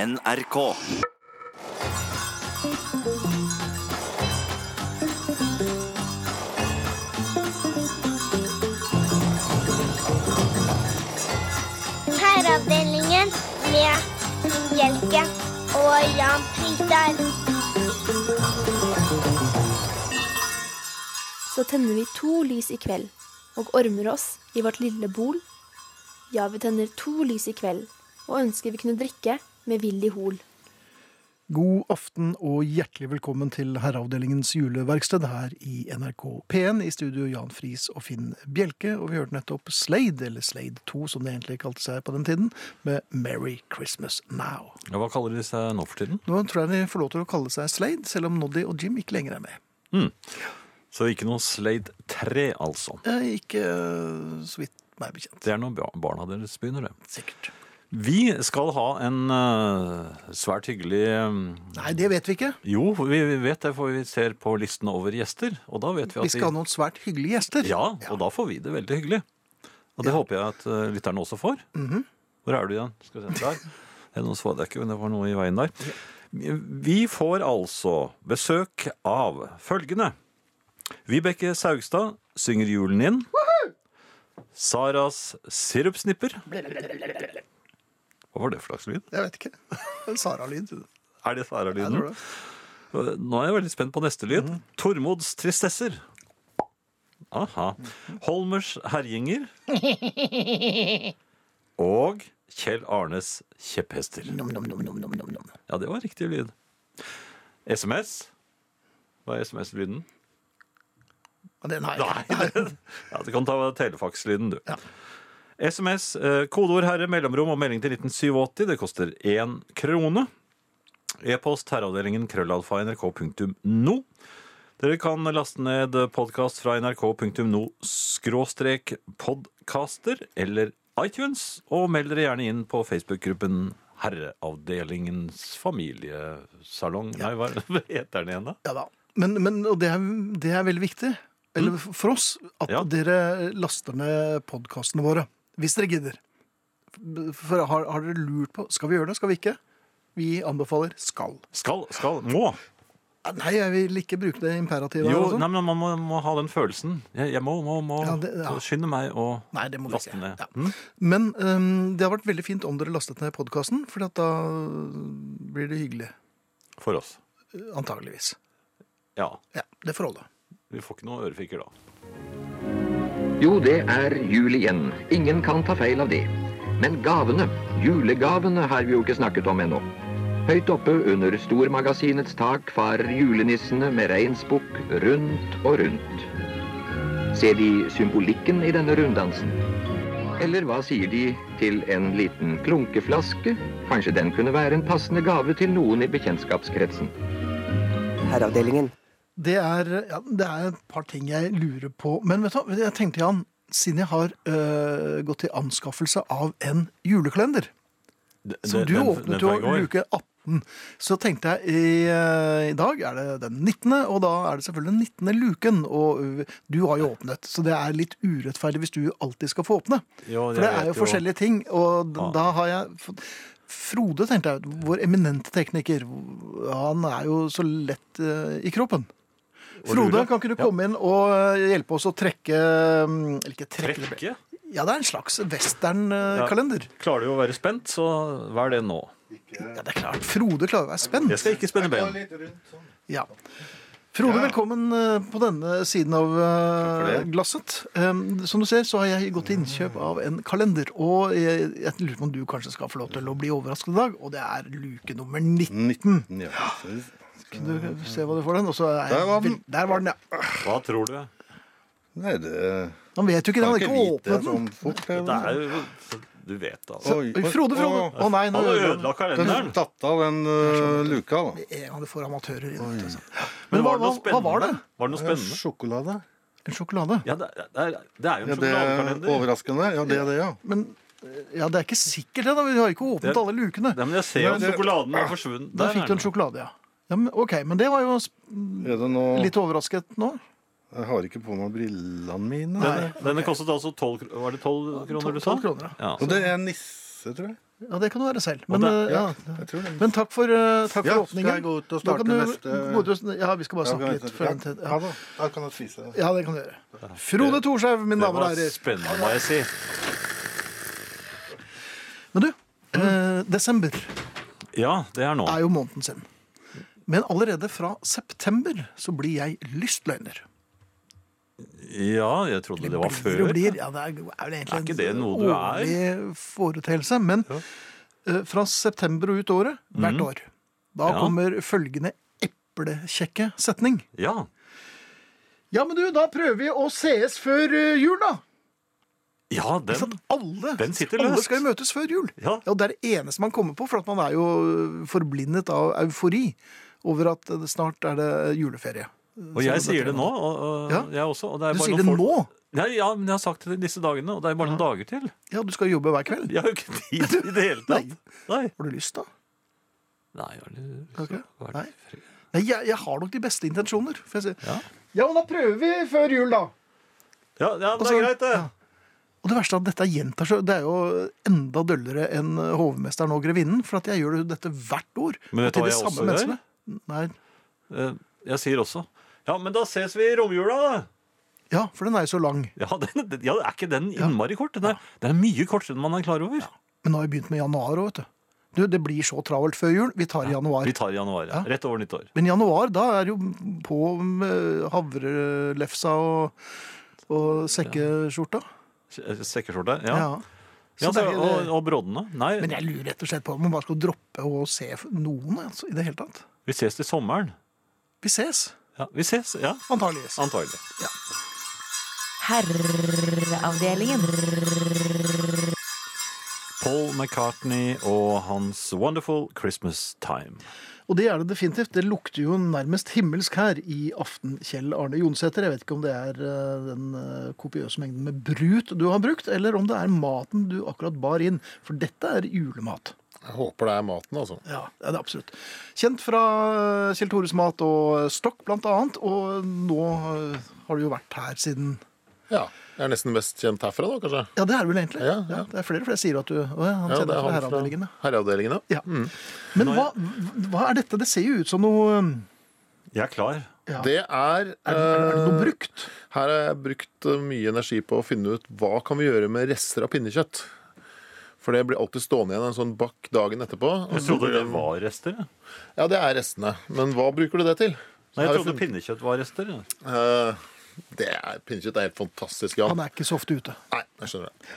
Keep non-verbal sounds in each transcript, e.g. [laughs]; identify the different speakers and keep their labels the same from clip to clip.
Speaker 1: NRK.
Speaker 2: Herreavdelingen med Hjelke og Jan Fritar.
Speaker 3: så tenner vi to lys i kveld og ormer oss i vårt lille bol. Ja, vi tenner to lys i kveld og ønsker vi kunne drikke med Willy Hol.
Speaker 4: God aften og hjertelig velkommen til Herreavdelingens juleverksted her i NRK P1. I studio Jan Friis og Finn Bjelke, og vi hørte nettopp Slade, eller Slade 2 som det egentlig kalte seg på den tiden, med Merry Christmas Now.
Speaker 5: Ja, hva kaller de seg nå for tiden?
Speaker 4: Nå tror jeg de får lov til å kalle seg Slade, selv om Noddy og Jim ikke lenger er med.
Speaker 5: Så ikke noe Slade 3, altså.
Speaker 4: Eh, Ikke eh, så vidt meg bekjent.
Speaker 5: Det er når ba- barna deres begynner, det.
Speaker 4: Sikkert.
Speaker 5: Vi skal ha en eh, svært hyggelig eh,
Speaker 4: Nei, det vet vi ikke.
Speaker 5: Jo, vi vi vet det, for vi ser på listen over gjester, og da vet vi at
Speaker 4: Vi skal ha noen svært hyggelige gjester.
Speaker 5: Ja, og da får vi det veldig hyggelig. Og det håper jeg at eh, lytterne også får. Hvor er du igjen? Skal vi se der. Eh, Nå så jeg deg ikke, men det var noe i veien der. Vi får altså besøk av følgende. Vibeke Saugstad synger julen inn. Saras sirupsnipper. Hva var det for slags lyd?
Speaker 4: Jeg vet ikke. [laughs] En Sara-lyd.
Speaker 5: Er det
Speaker 4: Jeg tror
Speaker 5: Sara-lyden?
Speaker 4: det. Mhm.
Speaker 5: Nå er jeg veldig spent på neste lyd. Tormods tristesser. Aha. Holmers
Speaker 4: [laughs]
Speaker 5: herjinger. Og Kjell Arnes kjepphester. Ja, det var riktig lyd. SMS. Hva er SMS-lyden?
Speaker 4: Men den har jeg ikke.
Speaker 5: Nei! det- Ja, du kan ta telefakslyden, du.
Speaker 4: Ja.
Speaker 5: SMS, eh, kodeord herre, mellomrom og melding til 1987. Det koster én krone. E-post herreavdelingen krøllalfa nrk.no. Dere kan laste ned podkast fra nrk.no skråstrek podkaster eller iTunes, og meld dere gjerne inn på Facebook-gruppen Herreavdelingens familiesalong. Nei, hva [laughs] hva heter den igjen, da?
Speaker 4: Ja da. Men, men og det, er, det er veldig viktig eller f- for oss at
Speaker 5: Mm. Ja.
Speaker 4: dere laster ned podkastene våre. Hvis dere gidder. For har, har dere lurt på Skal vi gjøre det, skal vi ikke? Vi anbefaler skal.
Speaker 5: Skal, skal, må!
Speaker 4: Ja, Nei, jeg vil ikke bruke det imperativet. her,
Speaker 5: Jo,
Speaker 4: altså.
Speaker 5: nei, men man må, må ha den følelsen. Jeg, jeg må, må, må
Speaker 4: Ja, det- ja.
Speaker 5: skynde meg å
Speaker 4: Nei, det må vi
Speaker 5: laste
Speaker 4: ikke.
Speaker 5: ned.
Speaker 4: Ja.
Speaker 5: Mm.
Speaker 4: Men øhm, det har vært veldig fint om dere lastet ned podkasten, for da blir det hyggelig.
Speaker 5: For oss.
Speaker 4: Antageligvis.
Speaker 5: Ja.
Speaker 4: Ja, det får holde.
Speaker 5: Vi får ikke noe ørefiker da.
Speaker 6: Jo, det er jul igjen. Ingen kan ta feil av det. Men gavene, julegavene, har vi jo ikke snakket om ennå. Høyt oppe under stormagasinets tak farer julenissene med reinsbukk rundt og rundt. Ser de symbolikken i denne runddansen? Eller hva sier de til en liten klunkeflaske? Kanskje den kunne være en passende gave til noen i bekjentskapskretsen.
Speaker 7: Herreavdelingen.
Speaker 4: Det er, ja, det er et par ting jeg lurer på. Men vet du, hva, jeg tenkte, Jan, siden jeg har øh, gått til anskaffelse av en julekalender, som du åpnet jo luke 18, så tenkte jeg i, øh, i dag er det den 19., og da er det selvfølgelig den 19. luken. Og øh, du har jo åpnet, så det er litt urettferdig hvis du alltid skal få åpne.
Speaker 5: Jo, jeg
Speaker 4: For det er
Speaker 5: vet
Speaker 4: jo forskjellige ting, og d-
Speaker 5: Ja.
Speaker 4: da har jeg fått Frode, tenkte jeg, vår eminente tekniker, han er jo så lett eh, i kroppen. Frode,
Speaker 5: lurer.
Speaker 4: kan ikke du
Speaker 5: Ja.
Speaker 4: komme inn og eh, hjelpe oss å trekke mm, Eller ikke trekke, det
Speaker 5: Trekke?
Speaker 4: ble- Ja, det er en slags eh, westernkalender.
Speaker 5: Klarer du å være spent, så vær det nå.
Speaker 4: Ja. det er klart. Frode klarer å være spent.
Speaker 5: Jeg skal ikke spenne ben.
Speaker 4: Ja. Frode, velkommen eh, på denne siden av eh,
Speaker 5: Takk for det.
Speaker 4: glasset. Em, Som du ser, så har jeg gått til innkjøp av en kalender. Og jeg, jeg lurer på om du kanskje skal få lov til å bli overrasket i dag. Og det er luke nummer 19.
Speaker 8: 19. Ja.
Speaker 4: Skal du se hva du får den? Og så er jeg,
Speaker 8: Der var den.
Speaker 4: vel- Der var den, ja.
Speaker 5: Hva tror du?
Speaker 8: Nei, det
Speaker 4: Han vet jo ikke det. Han har ikke
Speaker 8: vite
Speaker 4: åpnet den.
Speaker 8: sånn fort.
Speaker 5: Det
Speaker 8: eller?
Speaker 5: er jo Du vet, altså.
Speaker 8: Oi,
Speaker 4: Oi, Frode, Frode! Å nei, nå
Speaker 5: Han har
Speaker 4: ødela
Speaker 5: ødela
Speaker 8: Den
Speaker 5: kalenderen.
Speaker 8: tatt av den eh, luka, da.
Speaker 4: En gang du får amatører inn. vet du, altså.
Speaker 5: Men var det
Speaker 4: hva,
Speaker 5: noe
Speaker 4: hva, hva var det?
Speaker 5: spennende? Var det noe spennende?
Speaker 8: Sjokolade.
Speaker 4: En sjokolade?
Speaker 5: Ja, det er, det er, det er jo en
Speaker 8: Ja, det er
Speaker 5: sjokoladekalender.
Speaker 8: overraskende. Ja, det er det, ja.
Speaker 4: Men eh, ja, det er ikke sikkert, det. da. Vi har ikke åpnet
Speaker 5: Det-
Speaker 4: alle lukene.
Speaker 5: Nei, men jeg ser jo
Speaker 8: Nei,
Speaker 5: at
Speaker 8: det-
Speaker 5: sjokoladen er forsvunnet.
Speaker 4: Da fikk du en
Speaker 5: sjokoladekalender.
Speaker 4: sjokolade, ja. ja men, ok, men det var jo sp-
Speaker 8: Er det nå
Speaker 4: litt overrasket nå.
Speaker 8: Jeg har ikke på meg brillene mine.
Speaker 5: Denne, denne kostet altså 12, kr- var det 12 kroner du sa?
Speaker 4: 12 kroner, ja.
Speaker 5: Ja,
Speaker 8: Og det er nisse... neste, tror jeg.
Speaker 4: Ja, det kan du være selv. Men,
Speaker 5: da-
Speaker 4: eh, ja.
Speaker 8: jeg tror det.
Speaker 4: Men takk for, eh, takk
Speaker 8: Ja, skal
Speaker 4: for åpningen.
Speaker 8: jeg gå ut og
Speaker 4: Da kan
Speaker 8: starte
Speaker 4: du-
Speaker 8: neste-
Speaker 4: gå ut og- Ja, vi skal bare
Speaker 8: Ja,
Speaker 4: snakke
Speaker 8: kan jeg-
Speaker 4: litt. Før den tid.
Speaker 8: Ja
Speaker 4: Ja.
Speaker 8: da, da kan du spise det.
Speaker 4: ja, det kan du gjøre. Frode Thorshaug, mine
Speaker 5: Det
Speaker 4: damer og
Speaker 5: var
Speaker 4: herrer.
Speaker 5: spennende, må jeg si.
Speaker 4: Men du, eh, desember
Speaker 5: Ja, det er nå.
Speaker 4: er jo måneden sin. Men allerede fra september så blir jeg lystløgner.
Speaker 5: Ja, jeg trodde det var
Speaker 4: Blir og
Speaker 5: før.
Speaker 4: Blir, ja, det er, er vel
Speaker 5: Er
Speaker 4: egentlig
Speaker 5: ikke det
Speaker 4: en
Speaker 5: noe du er?
Speaker 4: årlig foreteelse. Men eh, fra september og ut året, hvert år, da
Speaker 5: Mhm. Ja.
Speaker 4: kommer følgende eplekjekke setning.
Speaker 5: Ja.
Speaker 4: Ja, men du, da prøver vi å sees før eh, jul, da.
Speaker 5: Ja,
Speaker 4: Ikke sant?
Speaker 5: den.
Speaker 4: alle,
Speaker 5: den sitter
Speaker 4: alle
Speaker 5: løst.
Speaker 4: skal jo møtes før jul.
Speaker 5: Ja.
Speaker 4: og det er det eneste man kommer på, for at man er jo forblindet av eufori over at eh, snart er det juleferie.
Speaker 5: Og jeg sier det nå, og, og
Speaker 4: Ja.
Speaker 5: jeg også. Og det er
Speaker 4: Du
Speaker 5: bare
Speaker 4: sier
Speaker 5: noen
Speaker 4: det
Speaker 5: folk-
Speaker 4: nå?
Speaker 5: Nei, ja, men jeg har sagt det disse dagene, og det er bare noen dager til.
Speaker 4: Ja, du skal jobbe hver kveld.
Speaker 5: Jeg har jo ikke
Speaker 4: [laughs]
Speaker 5: tid i det hele tatt. Nei.
Speaker 4: Har du lyst, da?
Speaker 5: Nei, har du-
Speaker 4: Har du ikke?
Speaker 5: har du-
Speaker 4: Nei. Nei, jeg, jeg har nok de beste intensjoner. Får jeg si.
Speaker 5: Ja.
Speaker 4: ja, men da prøver vi før jul, da.
Speaker 5: Ja, ja, men det
Speaker 4: så-
Speaker 5: er greit, det.
Speaker 4: Og det verste er at dette gjentar seg. Det er jo enda døllere enn eh, hovmesteren og grevinnen, for at jeg gjør jo dette hvert år.
Speaker 5: Men vet
Speaker 4: og
Speaker 5: du
Speaker 4: til
Speaker 5: hva
Speaker 4: de
Speaker 5: jeg
Speaker 4: samme
Speaker 5: også gjør?
Speaker 4: menneskene. Nei.
Speaker 5: Eh, Jeg sier også. Ja, men da ses vi i romjula, da.
Speaker 4: Ja, for den er jo så lang.
Speaker 5: Ja, [laughs] den, den- ja, er ikke den innmari kort? Den er, den er mye kortere enn man er klar over.
Speaker 4: Men nå har jeg begynt med januar òg, vet du. du. Det blir så travelt før jul. Vi tar januar.
Speaker 5: Vi tar i januar. Ja.
Speaker 4: Ja.
Speaker 5: Rett over nyttår.
Speaker 4: Men januar, da er jo på med havrelefsa og, og sekkeskjorta.
Speaker 5: Se- eh, Sekkeskjorte. Ja.
Speaker 4: Ja.
Speaker 5: ja.
Speaker 4: Så
Speaker 5: så,
Speaker 4: det er-
Speaker 5: og, og broddene. Nei,
Speaker 4: Men jeg lurer rett og slett på om man bare skal droppe å se noen altså, i det hele tatt.
Speaker 5: vi ses til sommeren.
Speaker 4: Vi ses,
Speaker 5: Ja, vi ses. Ja,
Speaker 4: antageligvis.
Speaker 5: antagelig.
Speaker 1: Herreavdelingen.
Speaker 5: Paul McCartney og hans Wonderful Christmas Time.
Speaker 4: Og det er det definitivt. Det lukter jo nærmest himmelsk her i aften, Kjell Arne Jonsæter. Jeg vet ikke om det er eh, den eh, kopiøse mengden med brut du har brukt, eller om det er maten du akkurat bar inn. For dette er julemat.
Speaker 9: Jeg håper det er maten, altså.
Speaker 4: Ja, det er det absolutt. Kjent fra eh, Kjell Tores mat og eh, Stokk, blant annet. Og nå eh, har du jo vært her siden
Speaker 9: Ja. Jeg er nesten mest kjent herfra, da, kanskje.
Speaker 4: Ja, det er du vel egentlig.
Speaker 9: Ja, ja.
Speaker 4: det er flere, for det sier jo at du Å ja, han
Speaker 9: Ja,
Speaker 4: kjenner
Speaker 9: det er
Speaker 4: fra
Speaker 9: han fra Mm.
Speaker 4: herreavdelingen. ja.
Speaker 9: herreavdelingen, ja.
Speaker 4: Ja. Men hva, hva er dette? Det ser jo ut som noe um,
Speaker 5: Jeg er klar.
Speaker 4: Ja.
Speaker 9: Det er,
Speaker 4: Er, det- er det
Speaker 9: eh,
Speaker 4: noe brukt?
Speaker 9: Her har jeg brukt eh, mye energi på å finne ut hva kan vi gjøre med rester av pinnekjøtt. For det blir alltid stående igjen en sånn bakk dagen etterpå. og
Speaker 5: Jeg
Speaker 9: så
Speaker 5: trodde
Speaker 9: blir
Speaker 5: det
Speaker 9: den-
Speaker 5: var rester. jeg.
Speaker 9: Ja, det er restene. Men hva bruker du det til?
Speaker 5: Nei,
Speaker 9: Her
Speaker 5: jeg
Speaker 9: har
Speaker 5: trodde
Speaker 9: jeg
Speaker 5: pinnekjøtt var rester. jeg.
Speaker 9: funnet- Eh, det er, pinnekjøtt er helt fantastisk. Ja.
Speaker 4: Han er ikke så ofte ute.
Speaker 9: Nei, jeg skjønner det.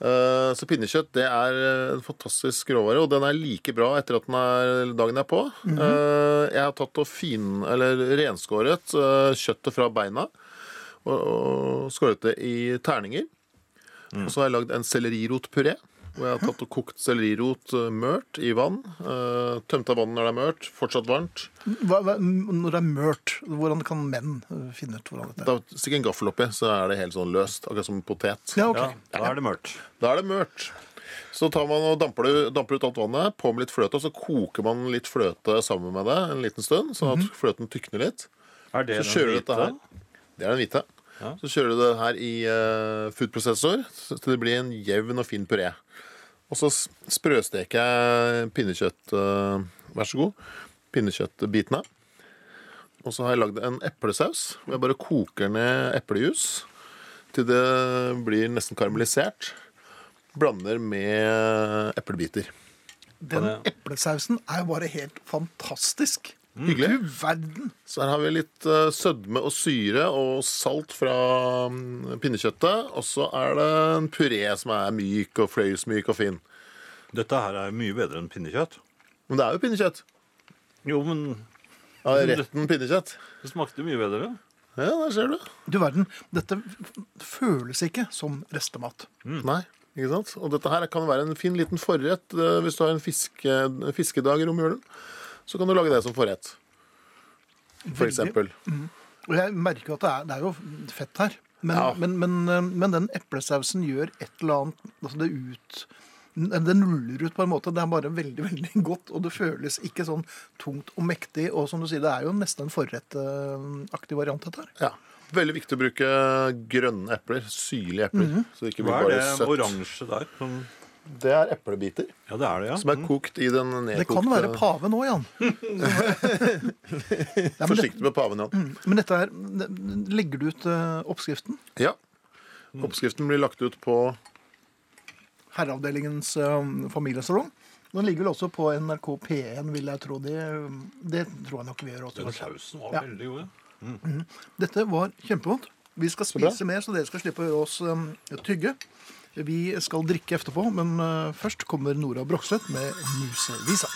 Speaker 9: Eh, så pinnekjøtt det er eh, en fantastisk råvare, og den er like bra etter at den er, dagen er på. Eh, jeg har tatt og fin, eller renskåret eh, kjøttet fra beina og, og skåret det i terninger. Og så har jeg lagd en sellerirotpuré. Hvor jeg har tatt og kokt sellerirot eh, mørt i vann. eh, tømt av vann når det er mørt. Fortsatt varmt.
Speaker 4: Hva, hva, når det er mørt, hvordan kan menn uh, finne ut hvordan dette er?
Speaker 9: Da Stikk en gaffel oppi, så er det helt sånn løst. Akkurat som potet.
Speaker 4: Ja, ok.
Speaker 5: Ja, da er det mørkt.
Speaker 9: Da er det mørt. Så tar man og damper, det, damper ut alt vannet, på med litt fløte, og så koker man litt fløte sammen med det en liten stund, sånn at fløten tykner litt.
Speaker 5: Er det
Speaker 9: Så
Speaker 5: den
Speaker 9: kjører du dette
Speaker 5: hvite?
Speaker 9: her. Det er den hvite.
Speaker 5: Ja.
Speaker 9: Så kjører du det her i uh, foodprosessor, så til det blir en jevn og fin puré. Og så s- sprøsteker jeg pinnekjøtt, eh, vær så god, pinnekjøttbitene. Og så har jeg lagd en eplesaus, hvor jeg bare koker ned eplejus til det blir nesten karamellisert. Blander med eplebiter.
Speaker 4: Den eplesausen er jo bare helt fantastisk.
Speaker 5: Mm,
Speaker 9: Hyggelig.
Speaker 4: Du verden!
Speaker 9: Så her har vi litt eh, sødme og syre og salt fra mm, pinnekjøttet. Og så er det en puré som er myk og fløyelsmyk og fin.
Speaker 5: Dette her er mye bedre enn pinnekjøtt.
Speaker 9: Men det er jo pinnekjøtt.
Speaker 5: Jo, men
Speaker 9: Ja,
Speaker 5: Mm.
Speaker 9: retten pinnekjøtt.
Speaker 5: det smakte mye bedre.
Speaker 9: Ja, der ser du.
Speaker 4: Du verden, dette f- føles ikke som restemat.
Speaker 5: Mm.
Speaker 9: Nei, ikke sant? Og dette her kan være en fin liten forrett eh, hvis du har en fiske, fiskedag i romjulen. Så kan du lage det som forrett. For
Speaker 4: Veldig.
Speaker 9: eksempel.
Speaker 4: Og jeg merker jo at det er, det er jo fett her. Men,
Speaker 9: Ja.
Speaker 4: men, men, eh, men den eplesausen gjør et eller annet altså Det ut det nuller ut på en måte. Det er bare veldig [laughs] veldig godt, og det føles ikke sånn tungt og mektig. Og som du sier, det er jo nesten en forrettaktig variant, dette her.
Speaker 9: Ja. Veldig viktig å bruke grønne epler. Syrlige epler. Så det ikke blir
Speaker 5: Mhm. Hva er
Speaker 9: bare
Speaker 5: det
Speaker 9: søtt.
Speaker 5: oransje der? Sånn-
Speaker 9: Det er eplebiter
Speaker 5: Ja, det er det, ja. Mm.
Speaker 9: som er kokt i den nedkokte
Speaker 4: Det kan være pave nå,
Speaker 9: [laughs]
Speaker 4: Jan. Ja, men, det, Mm.
Speaker 9: Forsiktig med paven, Jan.
Speaker 4: men dette er Legger du ut eh, oppskriften?
Speaker 9: Ja. Oppskriften blir lagt ut på
Speaker 4: Herreavdelingens eh, familiesalong. Den ligger vel også på NRK P1, vil jeg tro. Det, det tror jeg nok vi gjør også.
Speaker 5: Sausen var
Speaker 4: Ja.
Speaker 5: veldig god. ja.
Speaker 4: Dette var kjempevondt. Vi skal spise mer, så dere skal slippe å høre oss um, tygge. Vi skal drikke etterpå, men uh, først kommer Nora Brogstøt med Musevisa.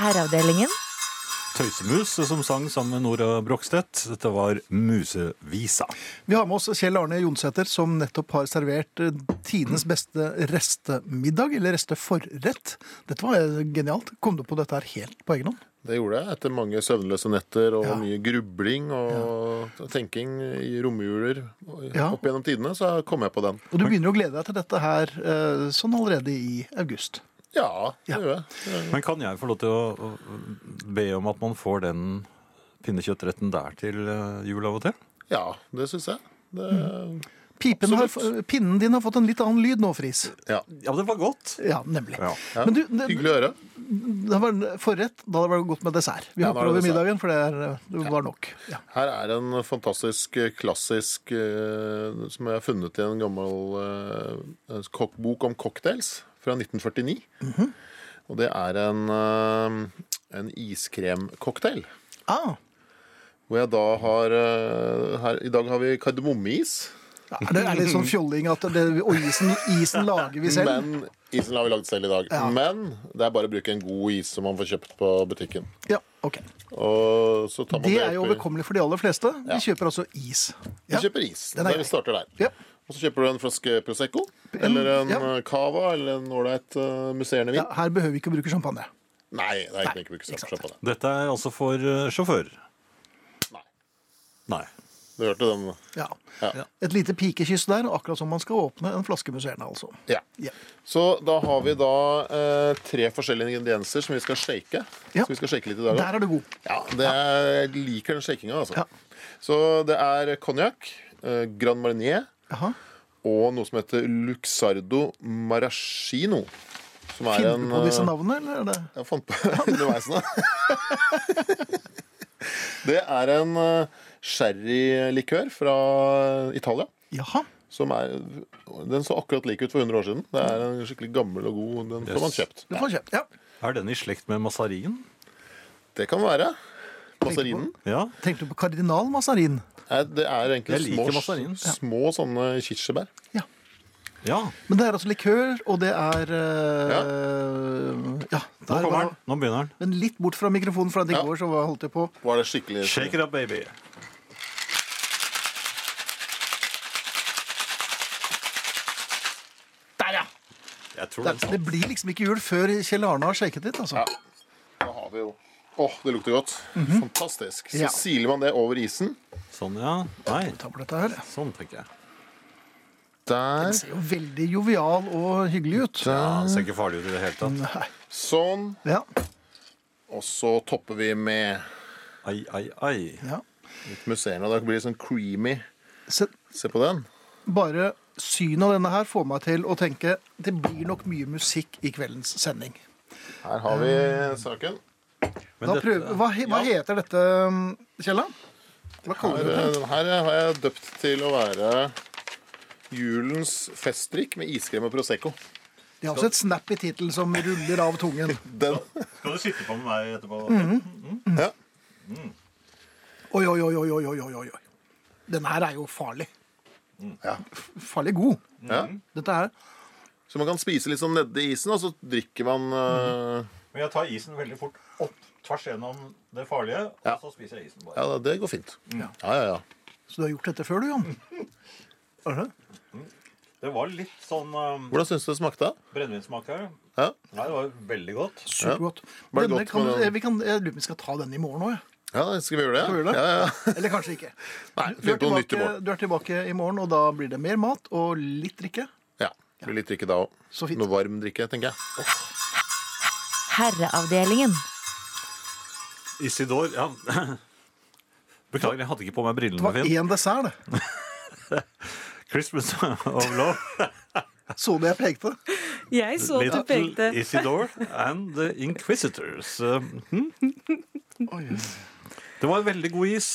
Speaker 1: Herreavdelingen.
Speaker 5: Tøysemus som sang sammen med Nora Brokstedt. Dette var Musevisa.
Speaker 4: Vi har med oss Kjell Arne Jonsæter, som nettopp har servert uh, tidenes beste restemiddag, eller resteforrett. Dette var uh, genialt. Kom du på dette her helt på egen hånd?
Speaker 9: Det gjorde jeg etter mange søvnløse netter og
Speaker 4: Ja.
Speaker 9: mye grubling og tenking i romjuler
Speaker 4: Ja.
Speaker 9: opp gjennom tidene, så kom jeg på den.
Speaker 4: Og du begynner å glede deg til dette her uh, sånn allerede i august.
Speaker 9: Ja, det
Speaker 4: Ja.
Speaker 9: gjør jeg.
Speaker 5: Men kan jeg få lov til å, å be om at man får den pinnekjøttretten der til eh, jul av og til?
Speaker 9: Ja, det syns jeg. Det,
Speaker 4: Mm. Pipen har,
Speaker 9: Absolutt.
Speaker 4: f- pinnen din har fått en litt annen lyd nå, Friis.
Speaker 9: ja.
Speaker 5: Ja, det var godt.
Speaker 4: Ja, nemlig.
Speaker 5: Ja.
Speaker 9: Ja,
Speaker 4: Men du, det-
Speaker 9: Hyggelig å høre.
Speaker 4: Det var en forrett, da det var godt med dessert. Vi
Speaker 9: Ja, da
Speaker 4: hopper
Speaker 9: er det
Speaker 4: over
Speaker 9: dessert.
Speaker 4: middagen, for det, er, det var nok. Ja.
Speaker 9: Her er en fantastisk eh, klassisk eh, som jeg har funnet i en gammel eh, kokkbok om cocktails fra 1949.
Speaker 4: Mhm.
Speaker 9: Og det er en, eh, en iskremcocktail.
Speaker 4: Ah,
Speaker 9: Hvor jeg da har eh, her, I dag har vi kardemommeis.
Speaker 4: ja, det er litt sånn fjolling at det, og isen, isen lager vi selv.
Speaker 9: Men isen har vi lagd selv i dag.
Speaker 4: Ja.
Speaker 9: Men det er bare å bruke en god is som man får kjøpt på butikken.
Speaker 4: Ja, ok.
Speaker 9: Og så tar man
Speaker 4: Det
Speaker 9: det,
Speaker 4: er jo
Speaker 9: oppi-
Speaker 4: overkommelig for de aller fleste. Vi
Speaker 9: Ja.
Speaker 4: kjøper altså is.
Speaker 9: Du
Speaker 4: Ja.
Speaker 9: kjøper is.
Speaker 4: Den er
Speaker 9: Der
Speaker 4: grei.
Speaker 9: vi starter der.
Speaker 4: Ja.
Speaker 9: Og så kjøper du en flaske Prosecco.
Speaker 4: En-
Speaker 9: Eller en
Speaker 4: ja.
Speaker 9: eh, Cava. Eller en ålreit eh, musserende vin.
Speaker 4: Ja, her behøver vi ikke å bruke champagne.
Speaker 9: Nei, det er
Speaker 4: Nei,
Speaker 9: egentlig ikke brukt
Speaker 4: ikke sant.
Speaker 9: champagne.
Speaker 5: Dette er altså for eh, sjåfører.
Speaker 9: Nei.
Speaker 5: Nei.
Speaker 9: Du hørte den?
Speaker 4: Ja.
Speaker 9: Ja.
Speaker 4: Et lite pikekyss der, akkurat som man skal åpne en flaske musserende, altså.
Speaker 9: ja.
Speaker 4: Ja.
Speaker 9: Så da har vi da eh, tre forskjellige ingredienser som vi skal shake.
Speaker 4: Ja.
Speaker 9: Så vi skal shake litt i dag også.
Speaker 4: Der er du god.
Speaker 9: Ja, det er, jeg liker den shakinga, altså.
Speaker 4: Ja.
Speaker 9: Så det er konjakk, eh, Grand Marnier
Speaker 4: Jaha.
Speaker 9: og noe som heter Luxardo Maraschino. Som er
Speaker 4: Finner
Speaker 9: en
Speaker 4: du på disse
Speaker 9: eh,
Speaker 4: navnene, eller er det
Speaker 9: Jeg fant på [laughs] underveis nå. det er en eh, sherrylikør fra Italia.
Speaker 4: Jaha.
Speaker 9: Som er, den så akkurat lik ut for 100 år siden. Det er en skikkelig gammel og god. Den får man
Speaker 5: Yes.
Speaker 9: kjøpt.
Speaker 4: Du får kjøpt. Ja.
Speaker 5: Er den i slekt med masarin?
Speaker 9: Det kan være. Mazarinen.
Speaker 5: Ja.
Speaker 4: Tenkte du på kardinal Mazarin?
Speaker 9: Nei, Det er egentlig
Speaker 5: Jeg
Speaker 9: små,
Speaker 5: liker mazarinen, ja.
Speaker 9: små sånne kirsebær.
Speaker 4: Ja.
Speaker 5: ja.
Speaker 4: Men det er altså likør, og det er eh,
Speaker 9: Ja.
Speaker 4: ja.
Speaker 5: Nå
Speaker 4: der var-
Speaker 5: kommer den. Nå begynner den.
Speaker 4: Men litt bort fra mikrofonen, for at i
Speaker 9: Ja.
Speaker 4: går så var- holdt jeg på.
Speaker 9: Var det skikkelig
Speaker 5: Shake it up, baby.
Speaker 4: Der, ja!
Speaker 5: Jeg tror sånn.
Speaker 4: Det,
Speaker 5: den satt.
Speaker 4: det blir liksom ikke jul før Kjell Arne har shaket litt, altså.
Speaker 9: Ja. Da har vi jo Åh, det lukter godt. Mhm. Fantastisk. Så
Speaker 4: Ja.
Speaker 9: siler man det over isen.
Speaker 5: Sånn, ja. Nei.
Speaker 4: Ta på dette her.
Speaker 5: Sånn, tenker jeg.
Speaker 9: Der.
Speaker 4: Det ser jo veldig jovial og hyggelig ut.
Speaker 5: Ja, det ser ikke farlig ut i det hele tatt.
Speaker 9: Sånn.
Speaker 4: Ja,
Speaker 9: Og så topper vi med
Speaker 5: Ai, ai, ai.
Speaker 4: ja.
Speaker 9: litt musserende. Det blir sånn creamy.
Speaker 4: Så
Speaker 9: Se på den.
Speaker 4: bare synet av denne her får meg til å tenke det blir nok mye musikk i kveldens sending.
Speaker 9: Her har vi saken.
Speaker 5: Men
Speaker 4: Da
Speaker 5: dette-
Speaker 4: prøver, hva, he- hva heter dette, Kjell Arne? Hva
Speaker 9: Her, eh,
Speaker 4: kaller du det?
Speaker 9: den her har jeg døpt til å være julens festdrikk med iskrem og prosecco.
Speaker 4: Det er også et snappy tittel som ruller av tungen.
Speaker 9: Den.
Speaker 5: Skal du sitte på med meg etterpå?
Speaker 4: Mhm.
Speaker 5: Mm-hmm.
Speaker 9: Ja.
Speaker 4: Oi, oi, oi, oi, oi, oi, oi. oi. Denne her er jo farlig.
Speaker 9: Mm, Ja.
Speaker 4: F- Farlig god.
Speaker 5: Mm-hmm.
Speaker 9: ja.
Speaker 4: Dette er
Speaker 9: Så man kan spise litt sånn nedi isen, og så drikker man eh,
Speaker 5: Men jeg tar isen veldig fort opp tvers gjennom det farlige, og
Speaker 9: Ja.
Speaker 5: så spiser jeg isen bare.
Speaker 9: Ja, det går fint. Ja, ja, ja.
Speaker 4: Så du har gjort dette før, du, Jan?
Speaker 9: [laughs]
Speaker 4: Er det?
Speaker 5: Det var litt sånn um,
Speaker 9: Hvordan syns du det smakte?
Speaker 5: brennevinsmak her.
Speaker 9: Ja.
Speaker 5: Nei, det var veldig godt.
Speaker 4: Supergodt.
Speaker 9: Var det
Speaker 4: Denne
Speaker 9: godt
Speaker 4: kan,
Speaker 9: med den?
Speaker 4: vi kan, jeg lurer på om vi skal ta denne i morgen òg.
Speaker 9: ja, skal vi gjøre det?
Speaker 4: Skal vi gjøre det?
Speaker 9: Ja, ja. [laughs]
Speaker 4: Eller kanskje ikke.
Speaker 9: Nei,
Speaker 4: Du er,
Speaker 9: finn på noe nytt i
Speaker 4: tilbake,
Speaker 9: morgen.
Speaker 4: du er tilbake i morgen, og da blir det mer mat og litt drikke.
Speaker 9: Ja, det blir litt drikke da òg.
Speaker 4: Så fint.
Speaker 9: Noe varm drikke, tenker jeg.
Speaker 1: Herreavdelingen.
Speaker 5: Isidor, ja. [laughs] Beklager, jeg hadde ikke på meg
Speaker 4: Det
Speaker 5: brillene,
Speaker 4: var
Speaker 5: Finn.
Speaker 4: én dessert,
Speaker 5: [laughs]
Speaker 4: det.
Speaker 5: Christmas [laughs] of love.
Speaker 4: Så du jeg prekte?
Speaker 1: [laughs] Jeg så du pekte.
Speaker 5: Little Isidore and the Inquisitors. [laughs] Eh, hm? Det var en veldig god is.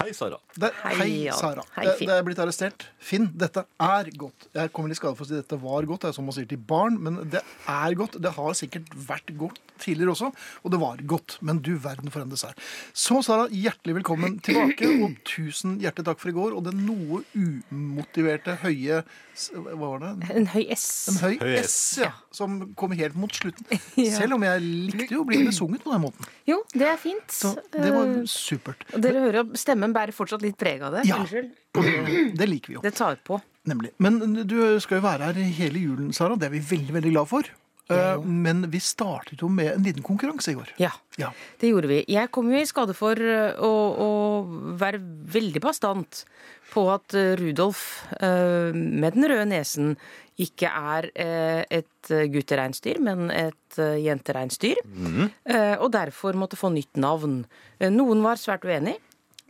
Speaker 5: Hei, Sara.
Speaker 4: Der,
Speaker 1: Hei,
Speaker 4: hei,
Speaker 1: ja.
Speaker 4: Sara.
Speaker 1: Hei,
Speaker 4: Det-
Speaker 1: Finn.
Speaker 4: Det er blitt arrestert. Finn, dette er godt. Jeg kommer litt skade for å si dette var godt. Det er som man sier til barn, men det er godt. Det har sikkert vært godt tidligere også, og det var godt. Men du verden for en dessert. Så, Sara, hjertelig velkommen tilbake, og tusen hjertelig takk for i går. Og den noe umotiverte høye s- Hva var det?
Speaker 1: En høy S.
Speaker 4: En høy,
Speaker 5: Høy
Speaker 4: S, ja. Som kom helt mot slutten.
Speaker 1: [laughs] Ja.
Speaker 4: Selv om jeg likte jo å bli besunget på den måten.
Speaker 1: Jo, det er fint.
Speaker 4: Så det var
Speaker 1: Eh,
Speaker 4: supert.
Speaker 1: og dere hører jo stemmen bærer fortsatt litt preg av det.
Speaker 4: Ja.
Speaker 1: Unnskyld.
Speaker 4: Og det, det liker vi jo.
Speaker 1: Det tar på.
Speaker 4: Nemlig. Men du skal jo være her hele julen, Sara. Det er vi veldig veldig glad for. Eh, Men vi startet jo med en liten konkurranse i går.
Speaker 1: Ja.
Speaker 4: Ja.
Speaker 1: Det gjorde vi. Jeg kom jo i skade for eh, å, å være veldig bastant på at eh, Rudolf eh, med den røde nesen ikke er eh, et eh, guttereinsdyr, men et eh, jentereinsdyr.
Speaker 4: Mm.
Speaker 1: Eh, Og derfor måtte få nytt navn. Eh, Noen var svært uenig,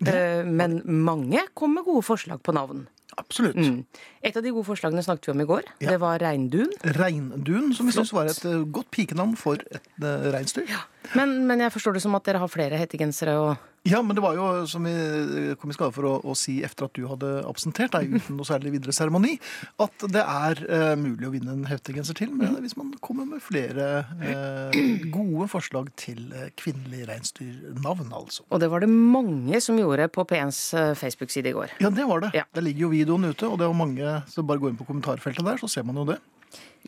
Speaker 1: eh, men mange kom med gode forslag på navn.
Speaker 4: Absolutt.
Speaker 1: Mm. Et av de gode forslagene snakket vi om i går.
Speaker 4: Ja.
Speaker 1: Det var reindun.
Speaker 4: Reindun, som vi syns var et eh, godt pikenavn for et eh, reinsdyr. Ja.
Speaker 1: Men, men jeg forstår det som at dere har flere hettegensere og
Speaker 4: men det var jo, som vi eh, kom i skade for å, å si etter at du hadde absentert deg uten noe særlig videre seremoni, at det er eh, mulig å vinne en heftegenser til men hvis man kommer med flere eh, gode forslag til eh, kvinnelig reinsdyrnavn, altså.
Speaker 1: Og det var det mange som gjorde på P1s eh, Facebook-side i går.
Speaker 4: Ja, det var det.
Speaker 1: Ja.
Speaker 4: Der ligger jo videoen ute, og det er jo mange som bare går inn på kommentarfeltet der, så ser man jo det.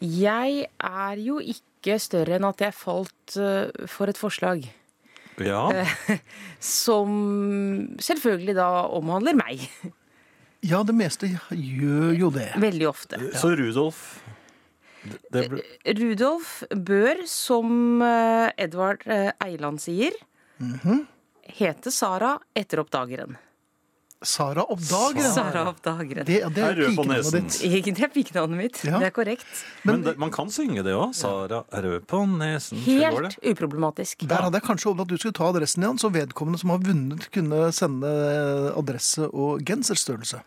Speaker 1: Jeg er jo ikke større enn at jeg falt eh, for et forslag
Speaker 5: Ja.
Speaker 1: som selvfølgelig da omhandler meg. [laughs]
Speaker 4: Ja, det meste gjør jo det.
Speaker 1: Veldig ofte.
Speaker 5: Så Rudolf det, det ble,
Speaker 1: Rudolf bør, som eh, Edvard eh, Eiland sier, hete Sara etter oppdageren.
Speaker 4: Sara Oppdager.
Speaker 1: Sara oppdageren.
Speaker 4: Det, ja, det
Speaker 5: Jeg er
Speaker 4: er
Speaker 5: rød på
Speaker 4: pikenavnet
Speaker 5: nesen.
Speaker 4: ditt.
Speaker 1: Det er pikenavnet mitt.
Speaker 4: Ja.
Speaker 1: Det er korrekt.
Speaker 5: men det, man kan synge det òg. Sara er rød på nesen. Slik var
Speaker 1: Helt
Speaker 5: det.
Speaker 1: uproblematisk.
Speaker 4: Der hadde jeg kanskje håpet at du skulle ta adressen igjen, så vedkommende som har vunnet, kunne sende adresse og genserstørrelse.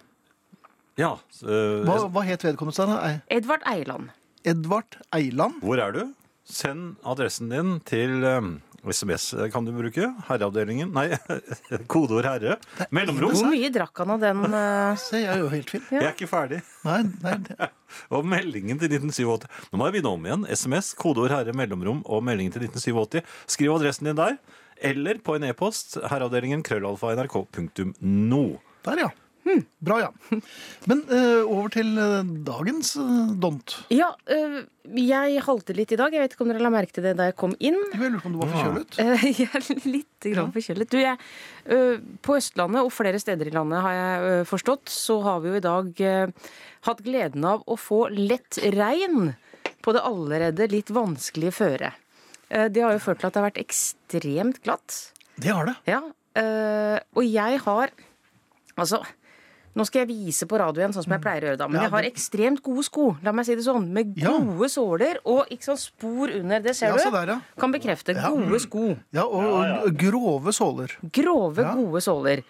Speaker 5: Ja. eh,
Speaker 4: Hva, hva het vedkommende? Steiner? Ei-
Speaker 1: Edvard Eiland.
Speaker 4: Edvard Eiland?
Speaker 5: Hvor er du? Send adressen din til um, SMS kan du bruke. Herreavdelingen. Nei, [laughs] kodeord herre.
Speaker 1: Hvor
Speaker 5: Mellomrom.
Speaker 1: mye drakk han av den? eh,
Speaker 4: Se, jeg er jo helt fin.
Speaker 5: Jeg er ikke ferdig.
Speaker 4: Nei, nei, det-
Speaker 5: Og meldingen til 1987. Nå må jeg begynne om igjen. SMS, kodeord herre, mellomrom og meldingen til 1987. Skriv adressen din der. Eller på en e-post. Herreavdelingen krøllalfa nrk.no.
Speaker 4: der, ja.
Speaker 1: Hmm.
Speaker 4: Bra, ja. Men eh, over til eh, dagens eh, dont.
Speaker 1: Ja, øh, jeg halte litt i dag. Jeg vet ikke om dere la merke til det da jeg kom inn. [laughs]
Speaker 4: Jeg lurte på om du var forkjølet?
Speaker 1: Eh, Jeg er litt grann forkjølet. Du, jeg, øh, på Østlandet og flere steder i landet, har jeg øh, forstått, så har vi jo i dag øh, hatt gleden av å få lett regn på det allerede litt vanskelige føret. Eh, Det har jo ført til at det har vært ekstremt glatt.
Speaker 4: Det har det.
Speaker 1: Ja, øh, og jeg har Altså, nå skal jeg vise på radioen sånn som jeg pleier å gjøre da, men
Speaker 4: Ja,
Speaker 1: jeg har
Speaker 4: det-
Speaker 1: ekstremt gode sko, la meg si det sånn, med
Speaker 4: Ja.
Speaker 1: gode såler og ikke sånn spor under. Det ser
Speaker 4: Ja, se
Speaker 1: du.
Speaker 4: der, ja.
Speaker 1: Kan bekrefte. Gode sko.
Speaker 4: Ja, og, og grove såler.
Speaker 1: Grove,
Speaker 4: Ja.
Speaker 1: gode såler.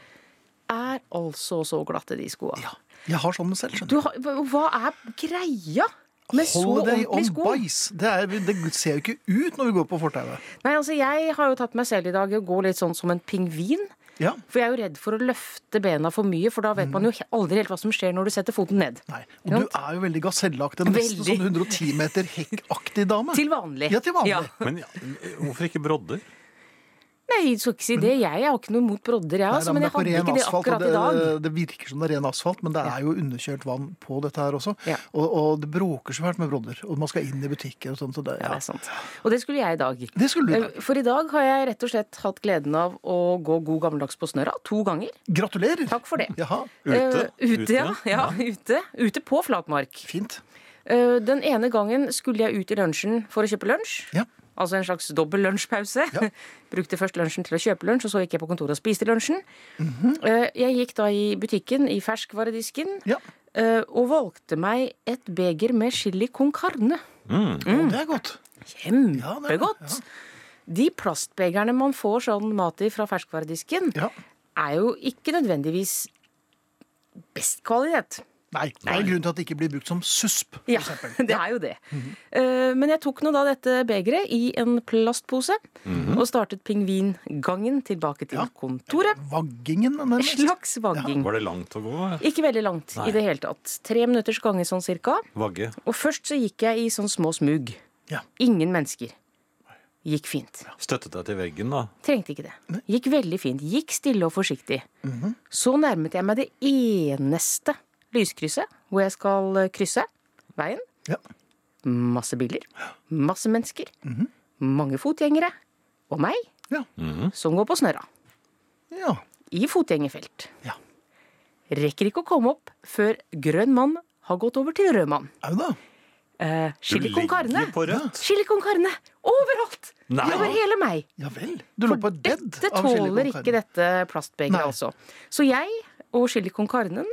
Speaker 1: Er altså så glatte, de skoa.
Speaker 4: Jeg har sånne selv, skjønner
Speaker 1: Du har- Hva er greia med så
Speaker 4: Holiday on
Speaker 1: ordentlige sko?
Speaker 4: Bice. Det, er, det ser jo ikke ut når vi går på fortauet.
Speaker 1: Nei, altså, jeg har jo tatt meg selv i dag i å gå litt sånn som en pingvin.
Speaker 4: Ja.
Speaker 1: For jeg er jo redd for å løfte bena for mye, for da
Speaker 4: Mm.
Speaker 1: vet man jo he- aldri helt hva som skjer når du setter foten ned.
Speaker 4: Nei. Og du er jo veldig gaselleaktig. Nesten
Speaker 1: Veldig.
Speaker 4: sånn 110 meter hekkaktig dame.
Speaker 1: Til vanlig.
Speaker 4: Ja, til vanlig.
Speaker 5: Men ja, hvorfor ikke brodder?
Speaker 1: Nei, jeg skal ikke si det. Jeg har ikke noe imot brodder, jeg,
Speaker 4: Nei,
Speaker 1: altså,
Speaker 4: nei,
Speaker 1: men
Speaker 4: det
Speaker 1: jeg
Speaker 4: er på
Speaker 1: hadde
Speaker 4: ren
Speaker 1: ikke det
Speaker 4: asfalt, og
Speaker 1: akkurat i dag.
Speaker 4: Det, det virker som det er ren asfalt, men det er jo underkjølt vann på dette her også.
Speaker 1: Ja.
Speaker 4: Og, og det bråker så fælt med brodder. Og man skal inn i butikker og sånt. Så det,
Speaker 1: Ja, det
Speaker 4: ja.
Speaker 1: er sant. Og det skulle jeg i dag. Eh,
Speaker 4: det skulle du. da.
Speaker 1: For i dag har jeg rett og slett hatt gleden av å gå god gammeldags på snørra to ganger.
Speaker 4: Gratulerer!
Speaker 1: Takk for det.
Speaker 4: Jaha.
Speaker 5: Ute?
Speaker 1: Eh, ute, ja. ja ute. ute på flatmark.
Speaker 4: Fint.
Speaker 1: Eh, den ene gangen skulle jeg ut i lunsjen for å kjøpe lunsj.
Speaker 4: Ja.
Speaker 1: Altså en slags dobbel lunsjpause. [laughs] Brukte først lunsjen til å kjøpe lunsj, og så gikk jeg på kontoret og spiste lunsjen. Eh, Jeg gikk da i butikken, i ferskvaredisken,
Speaker 4: Mhm. Ja.
Speaker 1: eh, og valgte meg et beger med chili con carne. Mm.
Speaker 4: Og det er godt. Ja, det er det,
Speaker 1: Kjempegodt! De plastbegerne man får sånn mat i fra ferskvaredisken,
Speaker 4: Ja.
Speaker 1: er jo ikke nødvendigvis best kvalitet.
Speaker 4: Nei, det er en grunn til at det ikke blir brukt som susp.
Speaker 1: Ja, [laughs] det er jo det.
Speaker 4: Mhm.
Speaker 1: Eh, Men jeg tok nå da dette begeret i en plastpose og startet pingvingangen tilbake til
Speaker 4: Mhm. Ja.
Speaker 1: kontoret.
Speaker 4: Vaggingen,
Speaker 1: En
Speaker 4: nærmest.
Speaker 1: slags vagging.
Speaker 5: Var det langt å gå?
Speaker 1: Ikke veldig langt i det hele tatt. Tre minutters gange sånn cirka.
Speaker 5: Vagge.
Speaker 1: Og først så gikk jeg i sånn små smug.
Speaker 4: Ja.
Speaker 1: Ingen mennesker. Gikk fint.
Speaker 5: Støttet deg til veggen, da.
Speaker 1: Trengte ikke det. Gikk veldig fint. Gikk stille og forsiktig.
Speaker 4: Mhm.
Speaker 1: Så nærmet jeg meg det eneste lyskrysset hvor jeg skal eh, krysse veien.
Speaker 4: Ja.
Speaker 1: Masse biler. Masse mennesker. Mange fotgjengere. Og meg,
Speaker 4: Mhm. Ja.
Speaker 5: Mhm.
Speaker 1: som går på snørra.
Speaker 4: ja.
Speaker 1: I fotgjengerfelt.
Speaker 4: Ja.
Speaker 1: Rekker ikke å komme opp før grønn mann har gått over til rød mann.
Speaker 4: Au da.
Speaker 1: Eh, chili con carne.
Speaker 5: på rødt.
Speaker 1: Chili con carne overalt!
Speaker 5: Nei.
Speaker 1: Over hele meg.
Speaker 4: Ja vel. Du lå på et bed
Speaker 1: Dette
Speaker 4: av chili con carne.
Speaker 1: tåler ikke dette
Speaker 4: Nei.
Speaker 1: plastbegeret, altså. Så jeg og chili con carnen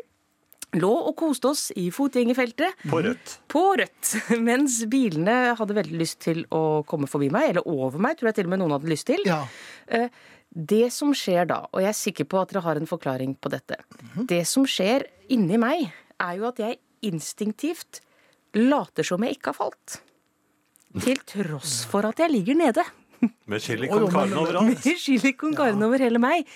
Speaker 1: lå og koste oss i fotgjengerfeltet
Speaker 5: På rødt.
Speaker 1: på rødt, [laughs] mens bilene hadde veldig lyst til å komme forbi meg, eller over meg, tror jeg til og med noen hadde lyst til.
Speaker 4: Ja.
Speaker 1: Det som skjer da, og jeg er sikker på at dere har en forklaring på dette
Speaker 4: Mhm.
Speaker 1: Det som skjer inni meg, er jo at jeg instinktivt later som jeg ikke har falt. Til tross for at jeg ligger nede.
Speaker 5: Med chili
Speaker 4: Oi,
Speaker 5: con
Speaker 4: oi,
Speaker 5: carne
Speaker 4: oi, oi.
Speaker 5: overalt.
Speaker 1: Chili con carne over hele meg.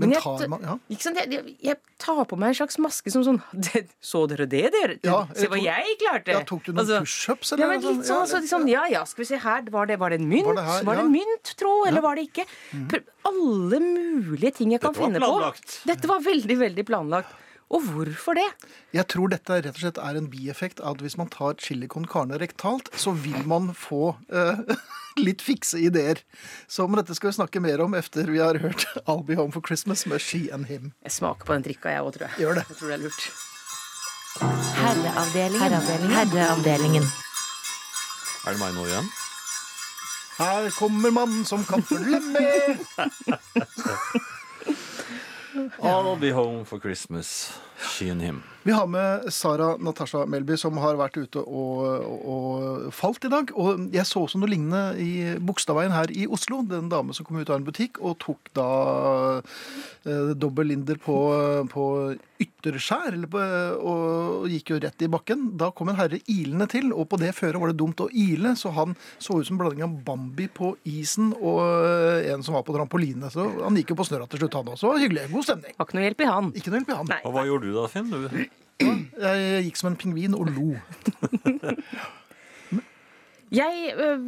Speaker 4: Men
Speaker 1: jeg,
Speaker 4: tar man- ja.
Speaker 1: ikke sant? Jeg, jeg, jeg tar på meg en slags maske som sånn [laughs] «Det- Så dere det, dere?
Speaker 4: Ja,
Speaker 1: se hva
Speaker 4: jeg
Speaker 1: jeg klarte!
Speaker 4: Ja,
Speaker 1: Altså,
Speaker 4: tok du noen pushups, eller
Speaker 1: Ja, men
Speaker 4: noe sånt?
Speaker 1: litt sånn,
Speaker 4: Ja,
Speaker 1: så
Speaker 4: litt-
Speaker 1: liksom, ja ja, skal vi se her. Var det, var det en mynt?
Speaker 4: Var
Speaker 1: Var
Speaker 4: det
Speaker 1: det,
Speaker 4: her? Ja. Mm.
Speaker 1: en mynt, tro, eller var det ikke? Pr- Alle mulige ting jeg kan
Speaker 5: Dette var
Speaker 1: finne på.
Speaker 5: planlagt.
Speaker 1: Dette var veldig, veldig planlagt. Og hvorfor det?
Speaker 4: Jeg tror dette rett og slett er en bieffekt av at hvis man tar chili con carne rektalt, så vil man få eh, [laughs] litt fikse ideer. Så om dette skal vi snakke mer om etter vi har hørt I'll Be Home for Christmas med She and Him.
Speaker 1: Jeg smaker på den drikka, jeg òg, tror jeg.
Speaker 4: Gjør det.
Speaker 1: Jeg tror det er lurt.
Speaker 5: Er det meg nå igjen?
Speaker 4: Her kommer mannen som kan følge med.
Speaker 5: I'll be home for Christmas. She and him.
Speaker 4: Vi har med Sara Natasha Melby, som har vært ute og, og, og falt i dag. Og jeg så også noe lignende i Bogstadveien her i Oslo. Det er en dame som kom ut av en butikk og tok da eh, dobbel linder på, på ytterskjær. Eller på, og gikk jo rett i bakken. Da kom en herre ilende til, og på det føret var det dumt å ile, så han så ut som en blanding av Bambi på isen og eh, en som var på trampoline. Så han gikk jo på snørra til slutt, han også. Hyggelig. God stemning.
Speaker 1: Har ikke noe hjelp i han.
Speaker 4: Ikke noe hjelp i han.
Speaker 1: Nei.
Speaker 5: Og hva gjorde du da, Finn? Du,
Speaker 4: Jeg gikk som en pingvin og lo.
Speaker 1: Jeg øh,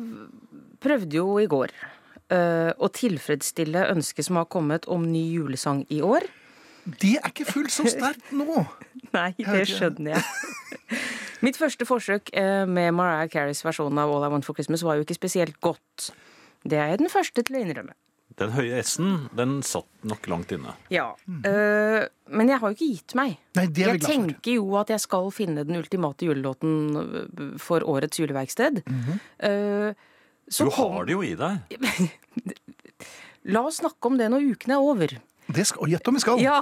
Speaker 1: prøvde jo i går øh, å tilfredsstille ønsket som har kommet om ny julesang i år.
Speaker 4: Det er ikke fullt så sterkt nå.
Speaker 1: Nei, det
Speaker 4: hørte igjen.
Speaker 1: skjønner jeg. [laughs] Mitt første forsøk eh, med Mariah Careys versjon av All I Want for Christmas var jo ikke spesielt godt. Det er jeg den første til å innrømme.
Speaker 5: den høye S-en, den satt nok langt inne.
Speaker 1: Ja. eh, men jeg har jo ikke gitt meg.
Speaker 4: Nei, det er vi
Speaker 1: Jeg
Speaker 4: glad for.
Speaker 1: tenker jo at jeg skal finne den ultimate julelåten øh, for årets juleverksted.
Speaker 4: Mhm.
Speaker 1: Eh, så
Speaker 5: Du
Speaker 1: kom-
Speaker 5: har det jo i deg.
Speaker 1: La oss snakke om det når uken er over.
Speaker 4: Det skal, gjett om vi skal.
Speaker 1: Ja,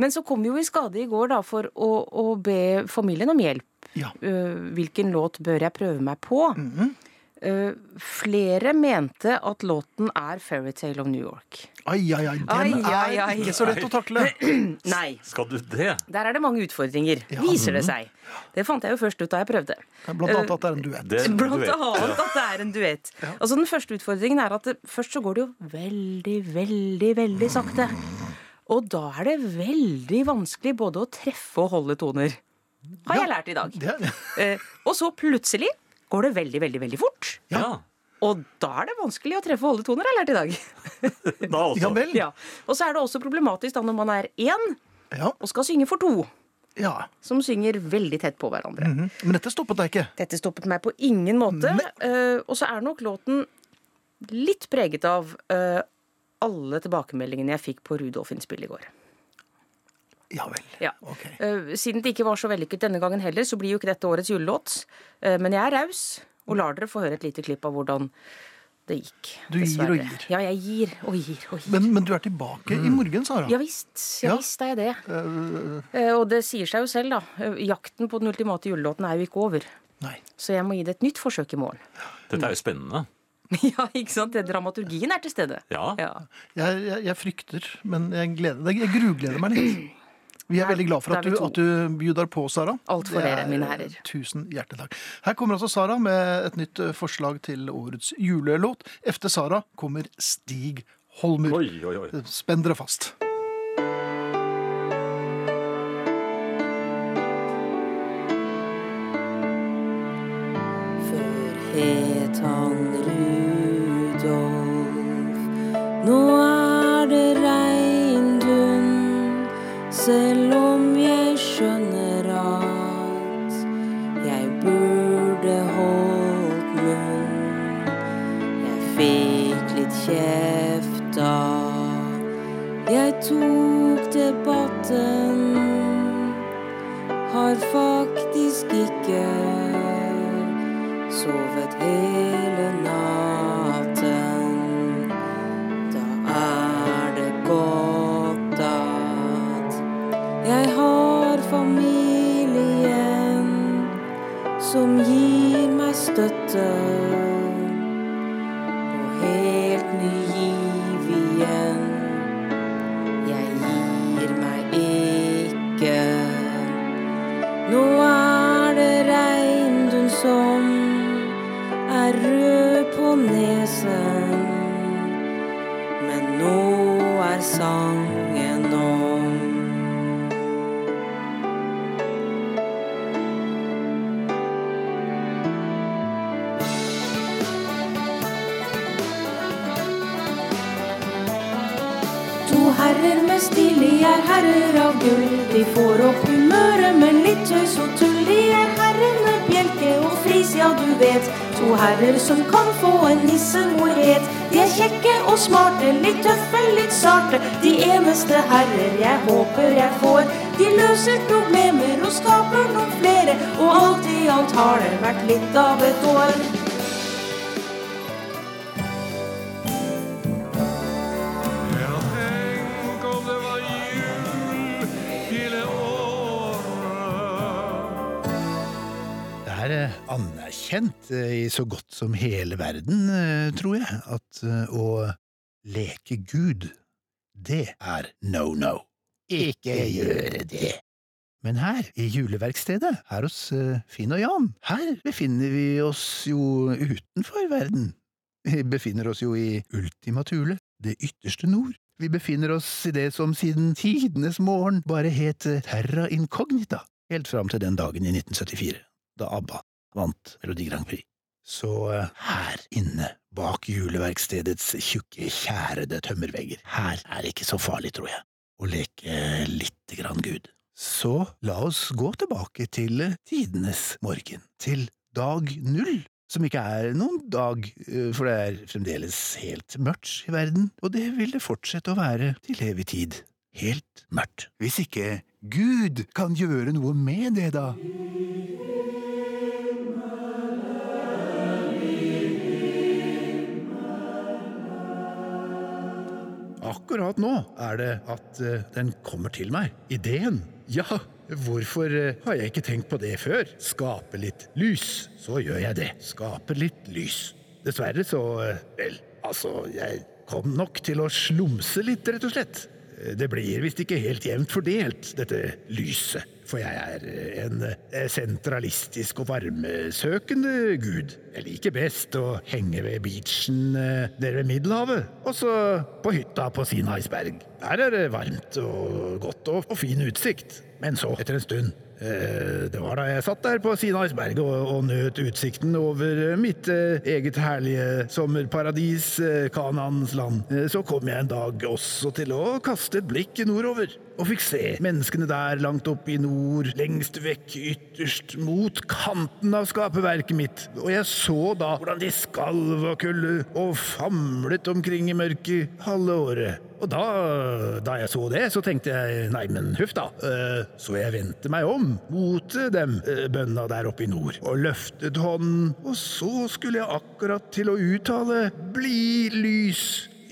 Speaker 1: Men så kom vi jo i skade i går da for å, å be familien om hjelp.
Speaker 4: Ja.
Speaker 1: Eh, hvilken låt bør jeg prøve meg på? Eh, flere mente at låten er 'Fairytale of New York'.
Speaker 4: Ai, ai, ai. Den
Speaker 1: Ai, ai, ai.
Speaker 4: er ikke så lett å takle.
Speaker 1: Nei,
Speaker 5: Skal du det?
Speaker 1: der er det mange utfordringer, viser det seg. Det fant jeg jo først ut da jeg prøvde.
Speaker 4: Blant annet at det er en duett.
Speaker 5: det
Speaker 1: Blant
Speaker 5: du vet.
Speaker 1: annet at det er en duett. Altså Den første utfordringen er at det, først så går det jo veldig, veldig, veldig sakte. Og da er det veldig vanskelig både å treffe og holde toner. Har jeg lært i dag.
Speaker 4: Det er,
Speaker 1: Eh, og så plutselig går det veldig, veldig, veldig fort.
Speaker 5: Ja.
Speaker 1: Og da er det vanskelig å treffe og holde toner, har jeg lært i dag. [laughs]
Speaker 5: Da altså.
Speaker 4: ja
Speaker 5: også.
Speaker 4: vel.
Speaker 1: Ja. Og så er det også problematisk da når man er én
Speaker 4: Ja,
Speaker 1: og skal synge for to,
Speaker 4: ja.
Speaker 1: som synger veldig tett på hverandre.
Speaker 4: Mhm. Men dette stoppet deg ikke.
Speaker 1: Dette stoppet meg på ingen måte.
Speaker 4: Nei.
Speaker 1: Eh, og så er nok låten litt preget av eh, alle tilbakemeldingene jeg fikk på Rudolf-innspillet i går.
Speaker 4: Ja vel.
Speaker 1: Ja.
Speaker 4: Ok.
Speaker 1: Eh, Siden det ikke var så vellykket denne gangen heller, så blir jo ikke dette årets julelåt. Eh, Men jeg er raus og lar dere få høre et lite klipp av hvordan det gikk.
Speaker 4: Du gir og gir.
Speaker 1: Ja, jeg gir og gir og gir.
Speaker 4: Men, men du er tilbake i morgen, Sara.
Speaker 1: Ja visst, ja
Speaker 4: Ja.
Speaker 1: visst er jeg det. Eh, Og det sier seg jo selv, da. Eh, Jakten på den ultimate julelåten er jo ikke over.
Speaker 4: Nei.
Speaker 1: Så jeg må gi det et nytt forsøk i morgen. [laughs]
Speaker 5: Dette er jo spennende.
Speaker 1: Ja, ikke sant? Det- Dramaturgien er til stede.
Speaker 5: Ja.
Speaker 1: Ja.
Speaker 4: Jeg, jeg, jeg frykter, men jeg gleder deg. Jeg grugleder meg litt. Vi er veldig glad for
Speaker 10: da
Speaker 4: at
Speaker 10: er
Speaker 4: du,
Speaker 10: vi to.
Speaker 4: at du bjuder på, Sara.
Speaker 10: Alt for
Speaker 4: Det
Speaker 10: dere,
Speaker 4: er,
Speaker 10: mine herrer.
Speaker 4: Tusen hjertelig takk. Her kommer altså Sara med et nytt eh, forslag til årets julelåt. Efter Sara kommer Stig Holmer.
Speaker 11: Oi, oi, oi.
Speaker 4: Spenn dere fast.
Speaker 10: Før het han Rudolf. Nå er det regndun, selv om jeg skjønner at jeg burde holdt munn. Jeg fikk litt kjeft da jeg tok debatten. Har faktisk ikke sovet hele natten. Da er det godt at jeg har familien som gir meg støtte. Og helt ny giv igjen. Jeg gir meg ikke. Nå er det reindun som er rød på nesen. Men nå er sangen om. To herrer med stil, de er herrer av gull. De får opp humøret, men litt tøys og tull. De er herrer med bjelke og flis, ja du vet. To herrer som kan få en nissemorhet. De er kjekke og smarte, litt tøffe, litt sarte. De eneste herrer jeg håper jeg får. De løser problemer og skaper noen flere. Og alt i alt har det vært litt av et år.
Speaker 12: Ja, tenk om det var jul hele året.
Speaker 13: Det er eh, anerkjent eh, i så godt som hele verden, eh, tror jeg, at eh, å leke Gud, det er no-no. Ikke gjøre det. Men her, i juleverkstedet, her hos eh, Finn og Jan, her befinner vi oss jo utenfor verden. Vi befinner oss jo i Ultima Thule, det ytterste nord. Vi befinner oss i det som siden tidenes morgen bare het eh, Terra Incognita, helt fram til den dagen i 1974 da ABBA vant Melodi Grand Prix. Så eh, her inne, bak juleverkstedets tjukke, kjærede tømmervegger, her er det ikke så farlig, tror jeg, å leke lite grann Gud. Så la oss gå tilbake til eh, tidenes morgen, til dag null, som ikke er noen dag, eh, for det er fremdeles helt mørkt i verden, og det vil det fortsette å være til evig tid. Helt mørkt. Hvis ikke Gud kan gjøre noe med det, da. Akkurat nå er det at eh, den kommer til meg. Ideen. Ja, hvorfor eh, har jeg ikke tenkt på det før? Skape litt lys. Så gjør jeg det. Skape litt lys. Dessverre så eh, Vel, altså, jeg kom nok til å slumse litt, rett og slett. Eh, Det blir visst ikke helt jevnt fordelt, dette lyset. For jeg er eh, en eh, sentralistisk og varmesøkende gud. Jeg liker best å henge ved beachen eh, nede ved Middelhavet, og så på hytta på Sinaiberg. Der er det varmt og godt og, og fin utsikt. Men så, etter en stund eh, Det var da jeg satt der på Sinaiberg og, og nøt utsikten over eh, mitt eh, eget herlige sommerparadis, eh, Kanaans land. Eh, Så kom jeg en dag også til å kaste et blikk nordover, og fikk se menneskene der langt opp i nord, lengst vekk, ytterst mot kanten av skaperverket mitt. Og jeg så da hvordan de skalv og kulde og famlet omkring i mørket halve året. Og da, da jeg så det, så tenkte jeg nei, men huff da. Eh, Så jeg vendte meg om mot dem eh, bøndene der oppe i nord, og løftet hånden, og så skulle jeg akkurat til å uttale bli lys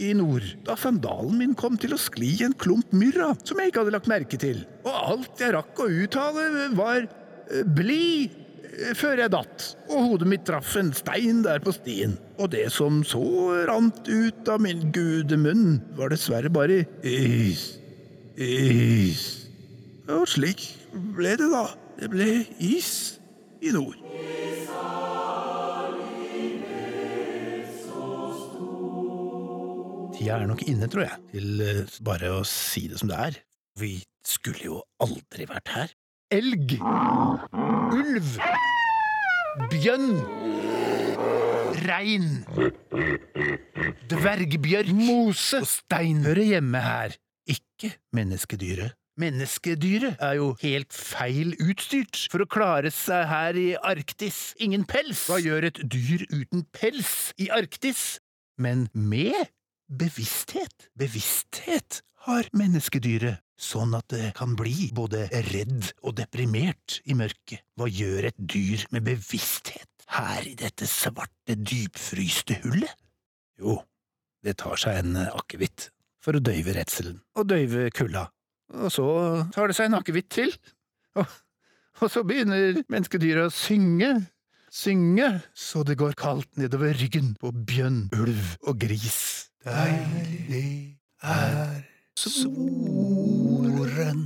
Speaker 13: i nord, da sandalen min kom til å skli i en klump myrra som jeg ikke hadde lagt merke til. Og alt jeg rakk å uttale, var eh, bli eh, før jeg datt, og hodet mitt traff en stein der på stien. Og det som så rant ut av min Hm, gudemunn, var dessverre bare is. Is. Og slik ble det, da. Det ble is i nord. Tida er nok inne, tror jeg, til eh, bare å si det som det er. Vi skulle jo aldri vært her. Elg. Ulv. Bjønn. Rein. Dvergbjørk. Mose. Og stein hører hjemme her. Ikke menneskedyret. Menneskedyret er jo helt feil utstyrt for å klare seg her i Arktis. Ingen pels! Hva gjør et dyr uten pels i Arktis? Men med bevissthet. Bevissthet har menneskedyret, sånn at det kan bli både redd og deprimert i mørket. Hva gjør et dyr med bevissthet her i dette svarte, dypfryste hullet? Jo, det tar seg en eh, akevitt for å døyve redselen og døyve kulda. Og så tar det seg en akevitt til, og, og så begynner menneskedyret å synge. Synge så det går kaldt nedover ryggen på bjønn, ulv og gris. Deilig er solen,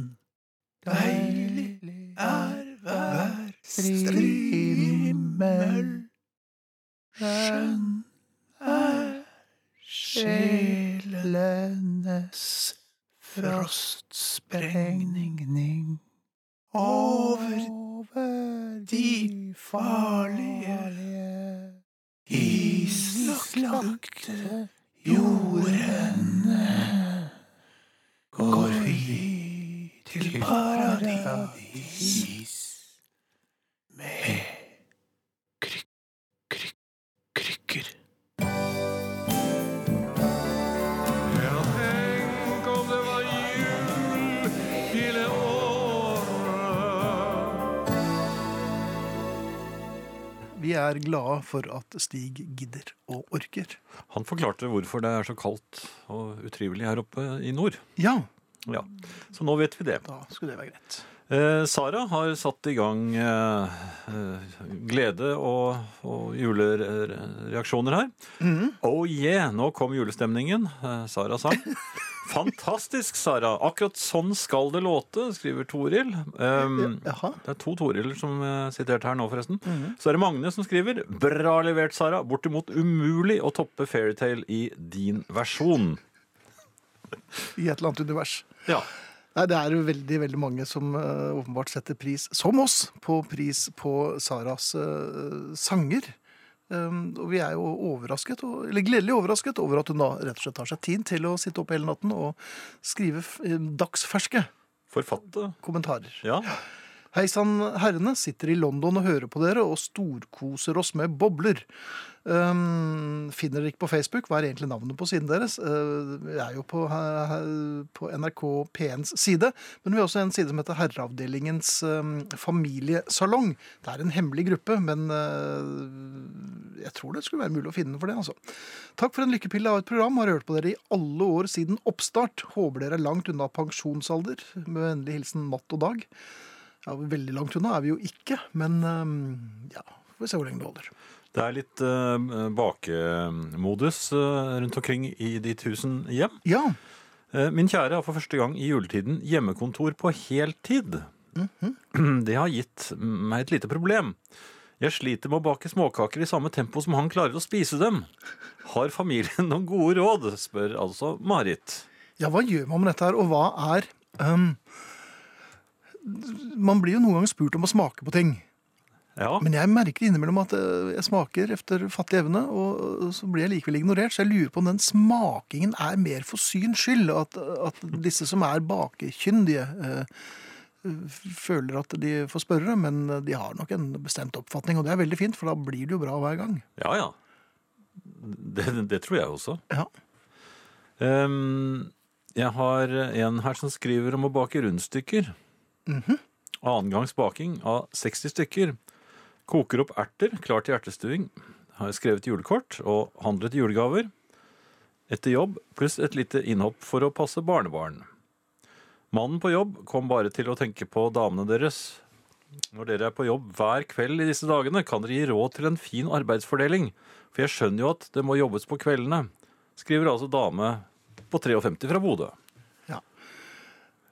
Speaker 13: deilig er hver strimmel, skjønn er sjelenes frostsprengning over de farlige islagte jordene. Går vi til paradis med kryk, kryk, krykker.
Speaker 12: Ja, tenk om det var jul hele året.
Speaker 4: Vi er glade for at Stig gidder og orker.
Speaker 5: Han forklarte hvorfor det er så kaldt og utrivelig her oppe i nord.
Speaker 4: Ja,
Speaker 5: Ja, Så nå vet vi det.
Speaker 4: da skulle det være greit.
Speaker 5: Eh, Sara har satt i gang eh, eh, glede og, og julereaksjoner her. Oh yeah, nå kom julestemningen, eh, Sara sang. Fantastisk, Sara. Akkurat sånn skal det låte, skriver Toril. Um,
Speaker 4: Jaha.
Speaker 5: det er to Toriler som eh, siterte her nå, forresten. Så er det Magne som skriver. Bra levert, Sara. Bortimot umulig å toppe Fairytale i din versjon.
Speaker 4: I et eller annet univers.
Speaker 5: Ja.
Speaker 4: Nei, Det er jo veldig veldig mange som eh, åpenbart setter pris, som oss, på pris på Saras eh, sanger. Um, og vi er jo overrasket, og, eller gledelig overrasket over at hun da rett og slett tar seg tid til å sitte opp hele natten og skrive f eh, dagsferske
Speaker 5: Forfatte.
Speaker 4: kommentarer.
Speaker 5: Ja.
Speaker 4: Hei sann, herrene. Sitter i London og hører på dere og storkoser oss med bobler. Um, finner dere ikke på Facebook? Hva er egentlig navnet på siden deres? Uh, vi er jo på, he- he- på NRK P1s side, men vi har også en side som heter Herreavdelingens um, familiesalong. Det er en hemmelig gruppe, men uh, jeg tror det skulle være mulig å finne den for det, altså. Takk for en lykkepille av et program. Har hørt på dere i alle år siden oppstart. Håper dere er langt unna pensjonsalder. Med vennlig hilsen Matt og Dag. Ja, Veldig langt unna er vi jo ikke, men ehm, ja, får vi se hvor lenge det holder.
Speaker 5: Det er litt eh, bakemodus eh, rundt omkring i de tusen hjem.
Speaker 4: Ja,
Speaker 5: Eh, min kjære har for første gang i juletiden hjemmekontor på heltid. [clears throat] Det har gitt meg et lite problem. Jeg sliter med å bake småkaker i samme tempo som han klarer å spise dem. Har familien [laughs] noen gode råd? spør altså Marit.
Speaker 4: ja hva gjør man med dette her, og hva er ehm, Man blir jo noen ganger spurt om å smake på ting.
Speaker 5: Ja,
Speaker 4: Men jeg merker innimellom at eh, jeg smaker efter fattig evne, og eh, så blir jeg likevel ignorert. Så jeg lurer på om den smakingen er mer for syns skyld. At, at disse som er bakekyndige, eh, f- føler at de får spørre, men de har nok en bestemt oppfatning. Og det er veldig fint, for da blir det jo bra hver gang.
Speaker 5: ja. ja. Det, det tror jeg også.
Speaker 4: Ja.
Speaker 5: Ehm, jeg har en her som skriver om å bake rundstykker. Annengangs baking av 60 stykker. Koker opp erter, klar til hjertestuing. Har skrevet julekort og handlet julegaver. Etter jobb, pluss et lite innhopp for å passe barnebarn. Mannen på jobb kom bare til å tenke på damene deres. Når dere er på jobb hver kveld i disse dagene, kan dere gi råd til en fin arbeidsfordeling. For jeg skjønner jo at det må jobbes på kveldene skriver altså dame på 53 fra Bodø.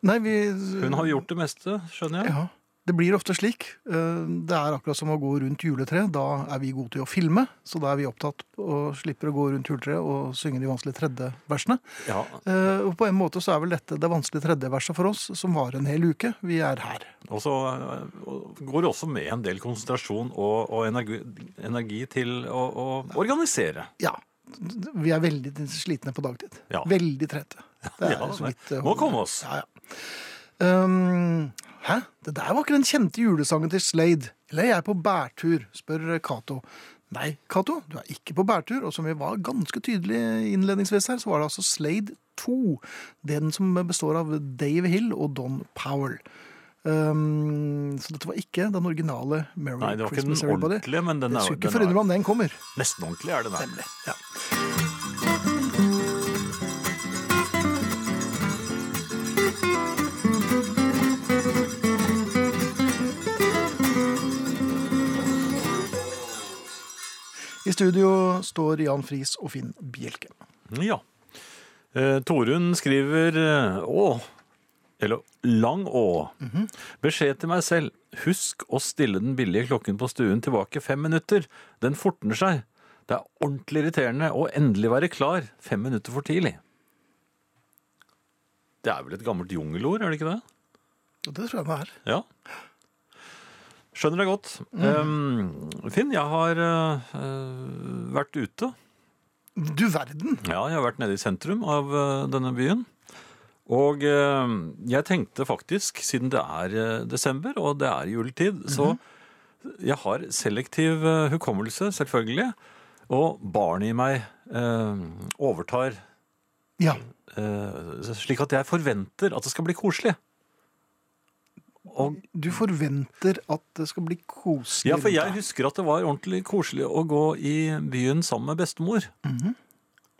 Speaker 4: Nei, vi,
Speaker 5: Hun har gjort det meste, skjønner jeg.
Speaker 4: Ja, det blir ofte slik. Eh, Det er akkurat som å gå rundt juletreet. Da er vi gode til å filme, så da er vi opptatt og slipper å gå rundt juletreet og synge de vanskelige tredje versene.
Speaker 5: Ja.
Speaker 4: Eh, Og på en måte så er vel dette det vanskelige tredje verset for oss, som varer en hel uke. Vi er her.
Speaker 5: Og så eh, og går det også med en del konsentrasjon og, og energi, energi til å, å organisere.
Speaker 4: Ja. Vi er veldig slitne på dagtid.
Speaker 5: Ja.
Speaker 4: Veldig trette. Det er
Speaker 5: Ja,
Speaker 4: så
Speaker 5: nei.
Speaker 4: vidt, eh,
Speaker 5: Må komme oss.
Speaker 4: Ja, ja. Um, hæ? Det der var ikke den kjente julesangen til Slade. Eller jeg er på bærtur, spør Cato. Nei, Cato, du er ikke på bærtur. Og som vi var ganske tydelige innledningsvis her, så var det altså Slade 2. Den som består av Dave Hill og Don Powell. Um, så dette var ikke den originale Merry
Speaker 5: Nei, det var ikke den
Speaker 4: Christmas Everybody.
Speaker 5: ordentlige, men den
Speaker 4: Jeg
Speaker 5: er-
Speaker 4: skulle ikke
Speaker 5: den er-
Speaker 4: forundre meg om den kommer.
Speaker 5: Nesten ordentlig er det der.
Speaker 4: Ja. I studio står Jan Friis og Finn Bjelke.
Speaker 5: Ja. Eh, Torunn skriver eh, Å, eller lang Å. Beskjed til meg selv. Husk å stille den billige klokken på stuen tilbake fem minutter. Den fortner seg. Det er ordentlig irriterende å endelig være klar fem minutter for tidlig. Det er vel et gammelt jungelord, er det ikke det?
Speaker 4: Og det tror jeg det er.
Speaker 5: Ja. Skjønner det godt. Eh, Finn, jeg har eh, eh, vært ute.
Speaker 4: Du verden!
Speaker 5: Ja, jeg har vært nede i sentrum av eh, denne byen. Og eh, jeg tenkte faktisk, siden det er eh, desember og det er juletid, så jeg har selektiv eh, hukommelse, selvfølgelig. Og barnet i meg eh, overtar
Speaker 4: Ja.
Speaker 5: eh, slik at jeg forventer at det skal bli koselig. Og
Speaker 4: Du forventer at det skal bli koselig.
Speaker 5: Mm. Ja, for jeg
Speaker 4: rundt deg.
Speaker 5: husker at det var ordentlig koselig å gå i byen sammen med bestemor.
Speaker 4: Mhm.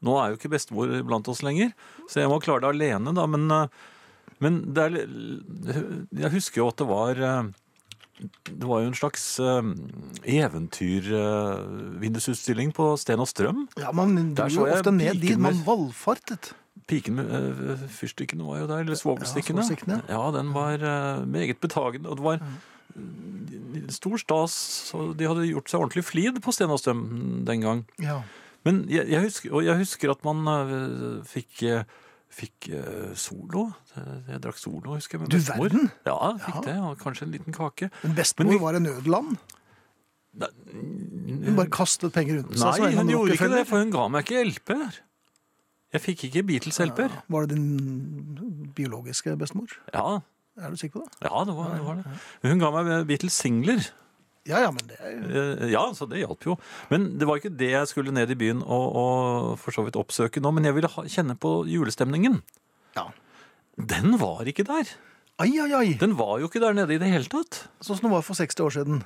Speaker 5: Nå er jo ikke bestemor blant oss lenger, så jeg må klare det alene, da. Men, eh, men det er, li- jeg husker jo at det var eh, Det var jo en slags eh, eventyrvindusutstilling på Sten og Strøm.
Speaker 4: Ja, Man
Speaker 5: Der
Speaker 4: dro
Speaker 5: så
Speaker 4: jo
Speaker 5: jeg
Speaker 4: ofte ned dit.
Speaker 5: piken
Speaker 4: Man
Speaker 5: med-
Speaker 4: valfartet.
Speaker 5: Piken med eh, fyrstikkene var jo der, eller svovelstikkene.
Speaker 4: svovelstikkene.
Speaker 5: Ja, den var eh, meget betagende. Og det var
Speaker 4: Mm.
Speaker 5: eh, stor stas. og De hadde gjort seg ordentlig flid på Sten og Strøm den gang.
Speaker 4: Ja.
Speaker 5: Men jeg, jeg, husker, og jeg husker at man øh, fikk, øh, fikk øh, solo. Jeg, jeg drakk solo, husker jeg. med
Speaker 4: Du
Speaker 5: bestemor.
Speaker 4: verden!
Speaker 5: Ja, jeg fikk det. Og kanskje en liten kake.
Speaker 4: Men bestemor var en nødland. Hun bare kastet penger rundt seg. som
Speaker 5: Nei,
Speaker 4: en
Speaker 5: hun gjorde ikke
Speaker 4: Rockefeller.
Speaker 5: det, for hun ga meg ikke LP-er. Jeg fikk ikke Beatles-LP-er.
Speaker 4: Var det din biologiske bestemor?
Speaker 5: Ja,
Speaker 4: Er du sikker på det?
Speaker 5: ja det, var, det var det. Men Hun ga meg Beatles-singler.
Speaker 4: Ja, ja, men det er jo
Speaker 5: Eh, Ja, så det hjalp jo. Men det var ikke det jeg skulle ned i byen og, og for så vidt oppsøke nå. Men jeg ville ha, kjenne på julestemningen.
Speaker 4: Ja.
Speaker 5: Den var ikke der.
Speaker 4: Ai, ai, ai!
Speaker 5: Den var jo ikke der nede i det hele tatt. [laughs]
Speaker 4: Sånn som det var for 60 år siden.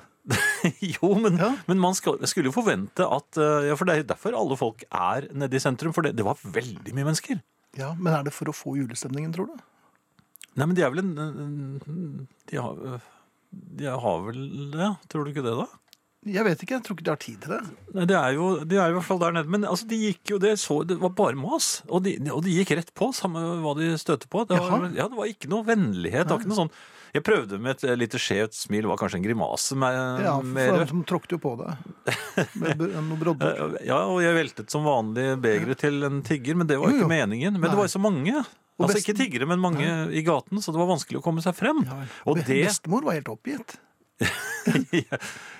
Speaker 5: Jo, men, men man skal, skulle jo forvente at eh, ja, For det er jo derfor alle folk er nede i sentrum. For det, det var veldig mye mennesker.
Speaker 4: Ja, Men er det for å få julestemningen, tror du?
Speaker 5: Nei, men de er vel en en- De har, eh, de har vel det? Ja. Tror du ikke det, da?
Speaker 4: Jeg vet ikke. Jeg tror ikke de har tid til det.
Speaker 5: Nei, det er jo, de er i hvert fall der nede. Men altså, de gikk jo, det, så, det var bare mas. Og de, og de gikk rett på, samme hva de støtte på. Det var,
Speaker 4: Jaha.
Speaker 5: ja, det var ikke noe vennlighet. Det var ikke noe sånn Jeg prøvde med et eh, lite skjevt smil, det var kanskje en grimase med,
Speaker 4: Ja,
Speaker 5: mer.
Speaker 4: for de tråkte jo på
Speaker 5: [laughs]
Speaker 4: deg. Med br- noe brodder.
Speaker 5: Eh, Ja, og jeg veltet som vanlig begeret til en tigger, men det var
Speaker 4: Jo,
Speaker 5: jo
Speaker 4: jo.
Speaker 5: ikke meningen. Men det var jo så mange.
Speaker 4: Og
Speaker 5: Altså
Speaker 4: best-
Speaker 5: ikke tiggere, men mange i gaten, så det var vanskelig å komme seg frem.
Speaker 4: Ja, vel.
Speaker 5: Og
Speaker 4: Be-
Speaker 5: det
Speaker 4: Bestemor var helt oppgitt.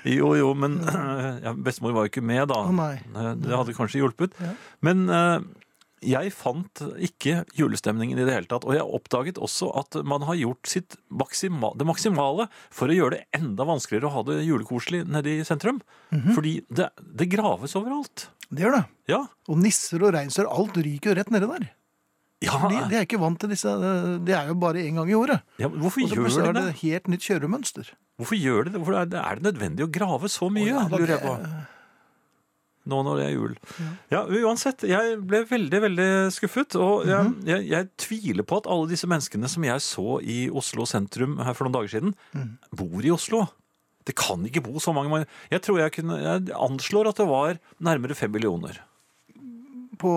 Speaker 5: Jo, jo, men [clears throat] ja, bestemor var jo ikke med, da.
Speaker 4: Å, nei.
Speaker 5: Eh, Det hadde kanskje hjulpet.
Speaker 4: Ja.
Speaker 5: Men eh, jeg fant ikke julestemningen i det hele tatt. Og jeg oppdaget også at man har gjort sitt maksima det maksimale for å gjøre det enda vanskeligere å ha det julekoselig nede i sentrum.
Speaker 4: Mhm.
Speaker 5: Fordi det, det graves overalt.
Speaker 4: Det gjør det.
Speaker 5: Ja.
Speaker 4: Og nisser og reinsdyr, alt ryker jo rett nedi der.
Speaker 5: ja.
Speaker 4: Fordi de er ikke vant til disse eh, Det er jo bare én gang i året.
Speaker 5: Ja, men hvorfor
Speaker 4: Og så
Speaker 5: gjør
Speaker 4: plutselig
Speaker 5: de
Speaker 4: er
Speaker 5: det?
Speaker 4: det helt nytt kjøremønster.
Speaker 5: Hvorfor gjør de det? Hvorfor er, det? er det nødvendig å grave så mye,
Speaker 4: Å, ja, da,
Speaker 5: lurer jeg på. Nå når det er jul. Ja, uansett. Jeg ble veldig, veldig skuffet. Og jeg,
Speaker 4: Mhm.
Speaker 5: jeg, jeg tviler på at alle disse menneskene som jeg så i Oslo sentrum her for noen dager siden,
Speaker 4: Mhm.
Speaker 5: bor i Oslo. Det kan ikke bo så mange. man- Jeg tror jeg kunne Jeg anslår at det var nærmere fem millioner.
Speaker 4: på,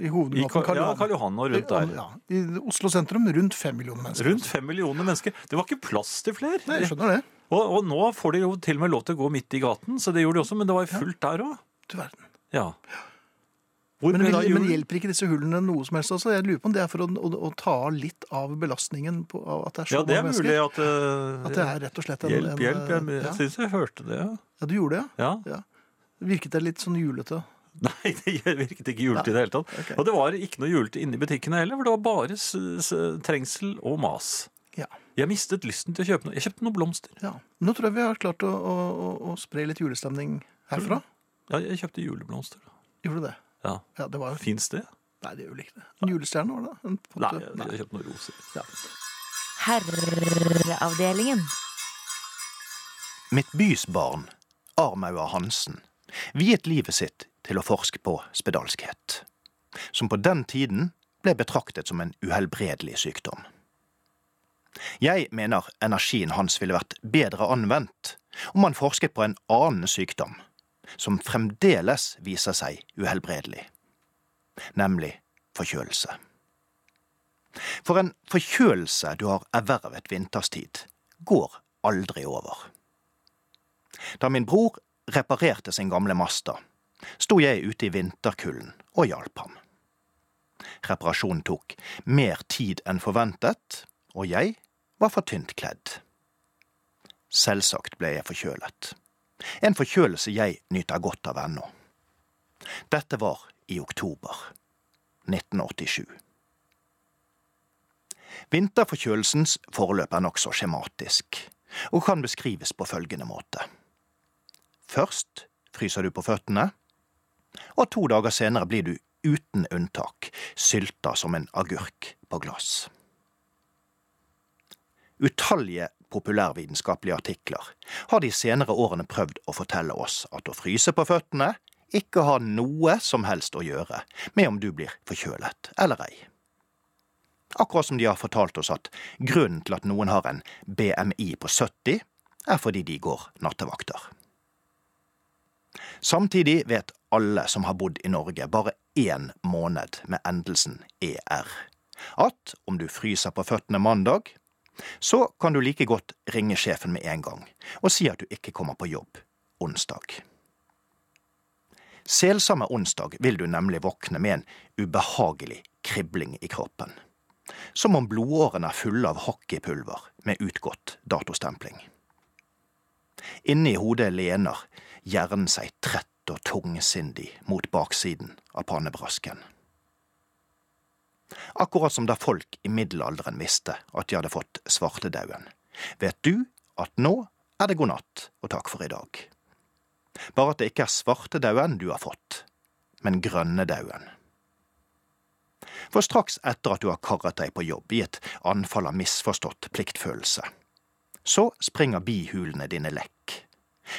Speaker 4: i
Speaker 5: I
Speaker 4: hovedgaten
Speaker 5: Ka- ja, Karl Johan og rundt der.
Speaker 4: Ja, I Oslo sentrum rundt fem millioner mennesker.
Speaker 5: Rundt fem millioner mennesker. Det var ikke plass til flere.
Speaker 4: Nei, jeg skjønner det.
Speaker 5: Og, og nå får de jo til og med lov til å gå midt i gaten, så det gjorde de også, men det var jo fullt der òg.
Speaker 4: Du verden.
Speaker 5: Ja. Hvor
Speaker 4: Men,
Speaker 5: ble det av
Speaker 4: vil, men
Speaker 5: julen?
Speaker 4: hjelper ikke disse hullene noe som helst? Altså, jeg lurer på om det er for å, å, å ta av litt av belastningen på av at det er så
Speaker 5: Ja, det er
Speaker 4: mange
Speaker 5: mulig
Speaker 4: mennesker?
Speaker 5: at, eh,
Speaker 4: At det er rett og slett en- en,
Speaker 5: Hjelp, hjelp. Jeg,
Speaker 4: ja.
Speaker 5: jeg syns jeg hørte det, ja.
Speaker 4: Ja, du gjorde det,
Speaker 5: ja.
Speaker 4: ja. Virket det litt sånn julete?
Speaker 5: [laughs] Nei, det virket ikke julete i det hele tatt. Og det var ikke noe julete inne i butikkene heller, for det var bare s s trengsel og mas.
Speaker 4: Ja.
Speaker 5: Jeg mistet lysten til å kjøpe noe. Jeg kjøpte noen blomster.
Speaker 4: Ja. Nå tror jeg vi har klart å, å, å- å spre litt julestemning herfra.
Speaker 5: Ja, jeg kjøpte juleblomster.
Speaker 4: Gjorde du det?
Speaker 5: Ja.
Speaker 4: Ja, det var jo
Speaker 5: Fins det?
Speaker 4: Nei, det gjorde vel ikke det. En julestjerne var det? da? En
Speaker 5: Nei,
Speaker 4: potte-
Speaker 5: jeg, jeg kjøpte noen roser.
Speaker 10: Herreavdelingen.
Speaker 14: Mitt bys barn, Armaua Hansen, viet livet sitt til å forske på spedalskhet, som på den tiden ble betraktet som en uhelbredelig sykdom. Jeg mener energien hans ville vært bedre anvendt om han forsket på en annen sykdom, som fremdeles viser seg uhelbredelig, nemlig forkjølelse. For en forkjølelse du har ervervet vinterstid, går aldri over. Da min bror reparerte sin gamle Masta, sto jeg ute i vinterkulden og hjalp ham. Reparasjonen tok mer tid enn forventet, og jeg var for tynt kledd. Selvsagt ble jeg forkjølet. En forkjølelse jeg nyter godt av ennå. Dette var i oktober 1987. Vinterforkjølelsens forløp er nokså skjematisk, og kan beskrives på følgende måte. Først fryser du på føttene, og to dager senere blir du uten unntak sylta som en agurk på glass. Utallige populærvitenskapelige artikler har de senere årene prøvd å fortelle oss at å fryse på føttene ikke har noe som helst å gjøre med om du blir forkjølet eller ei. Akkurat som de har fortalt oss at grunnen til at noen har en BMI på 70, er fordi de går nattevakter. Samtidig vet alle som har bodd i Norge bare én måned med endelsen ER, at om du fryser på føttene mandag, så kan du like godt ringe sjefen med en gang og si at du ikke kommer på jobb onsdag. Selsomme onsdag vil du nemlig våkne med en ubehagelig kribling i kroppen. Som om blodårene er fulle av hockeypulver med utgått datostempling. Inne i hodet lener hjernen seg trett og tungsindig mot baksiden av pannebrasken. Akkurat som da folk i middelalderen visste at de hadde fått svartedauden, vet du at nå er det god natt og takk for i dag. Bare at det ikke er svartedauden du har fått, men grønnedauden. For straks etter at du har karret deg på jobb i et anfall av misforstått pliktfølelse, så springer bihulene dine lekk,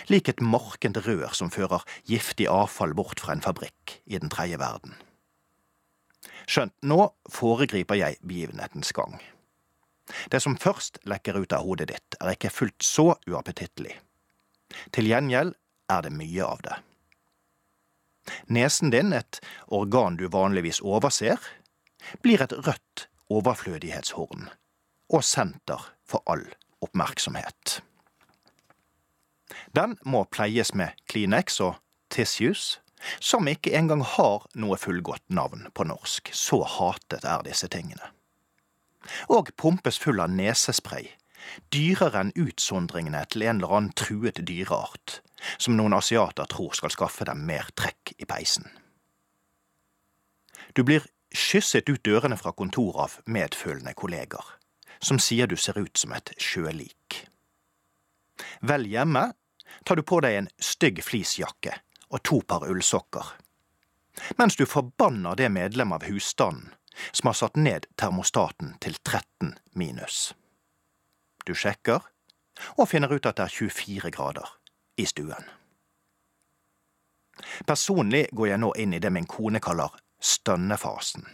Speaker 14: lik et markent rør som fører giftig avfall bort fra en fabrikk i den tredje verden. Skjønt, nå foregriper jeg begivenhetens gang. Det som først lekker ut av hodet ditt, er ikke fullt så uappetittlig. Til gjengjeld er det mye av det. Nesen din, et organ du vanligvis overser, blir et rødt overflødighetshorn og senter for all oppmerksomhet. Den må pleies med Kleenex og tissues, som ikke engang har noe fullgodt navn på norsk. Så hatet er disse tingene. Og pumpes full av nesespray, dyrere enn utsondringene til en eller annen truet dyreart, som noen asiater tror skal skaffe dem mer trekk i peisen. Du blir kysset ut dørene fra kontoret av medfølende kolleger, som sier du ser ut som et sjølik. Vel hjemme tar du på deg en stygg fleecejakke og to par ullsokker, mens du forbanner det medlem av husstanden som har satt ned termostaten til 13 minus. Du sjekker, og finner ut at det er 24 grader i stuen. Personlig går jeg nå inn i det min kone kaller stønnefasen.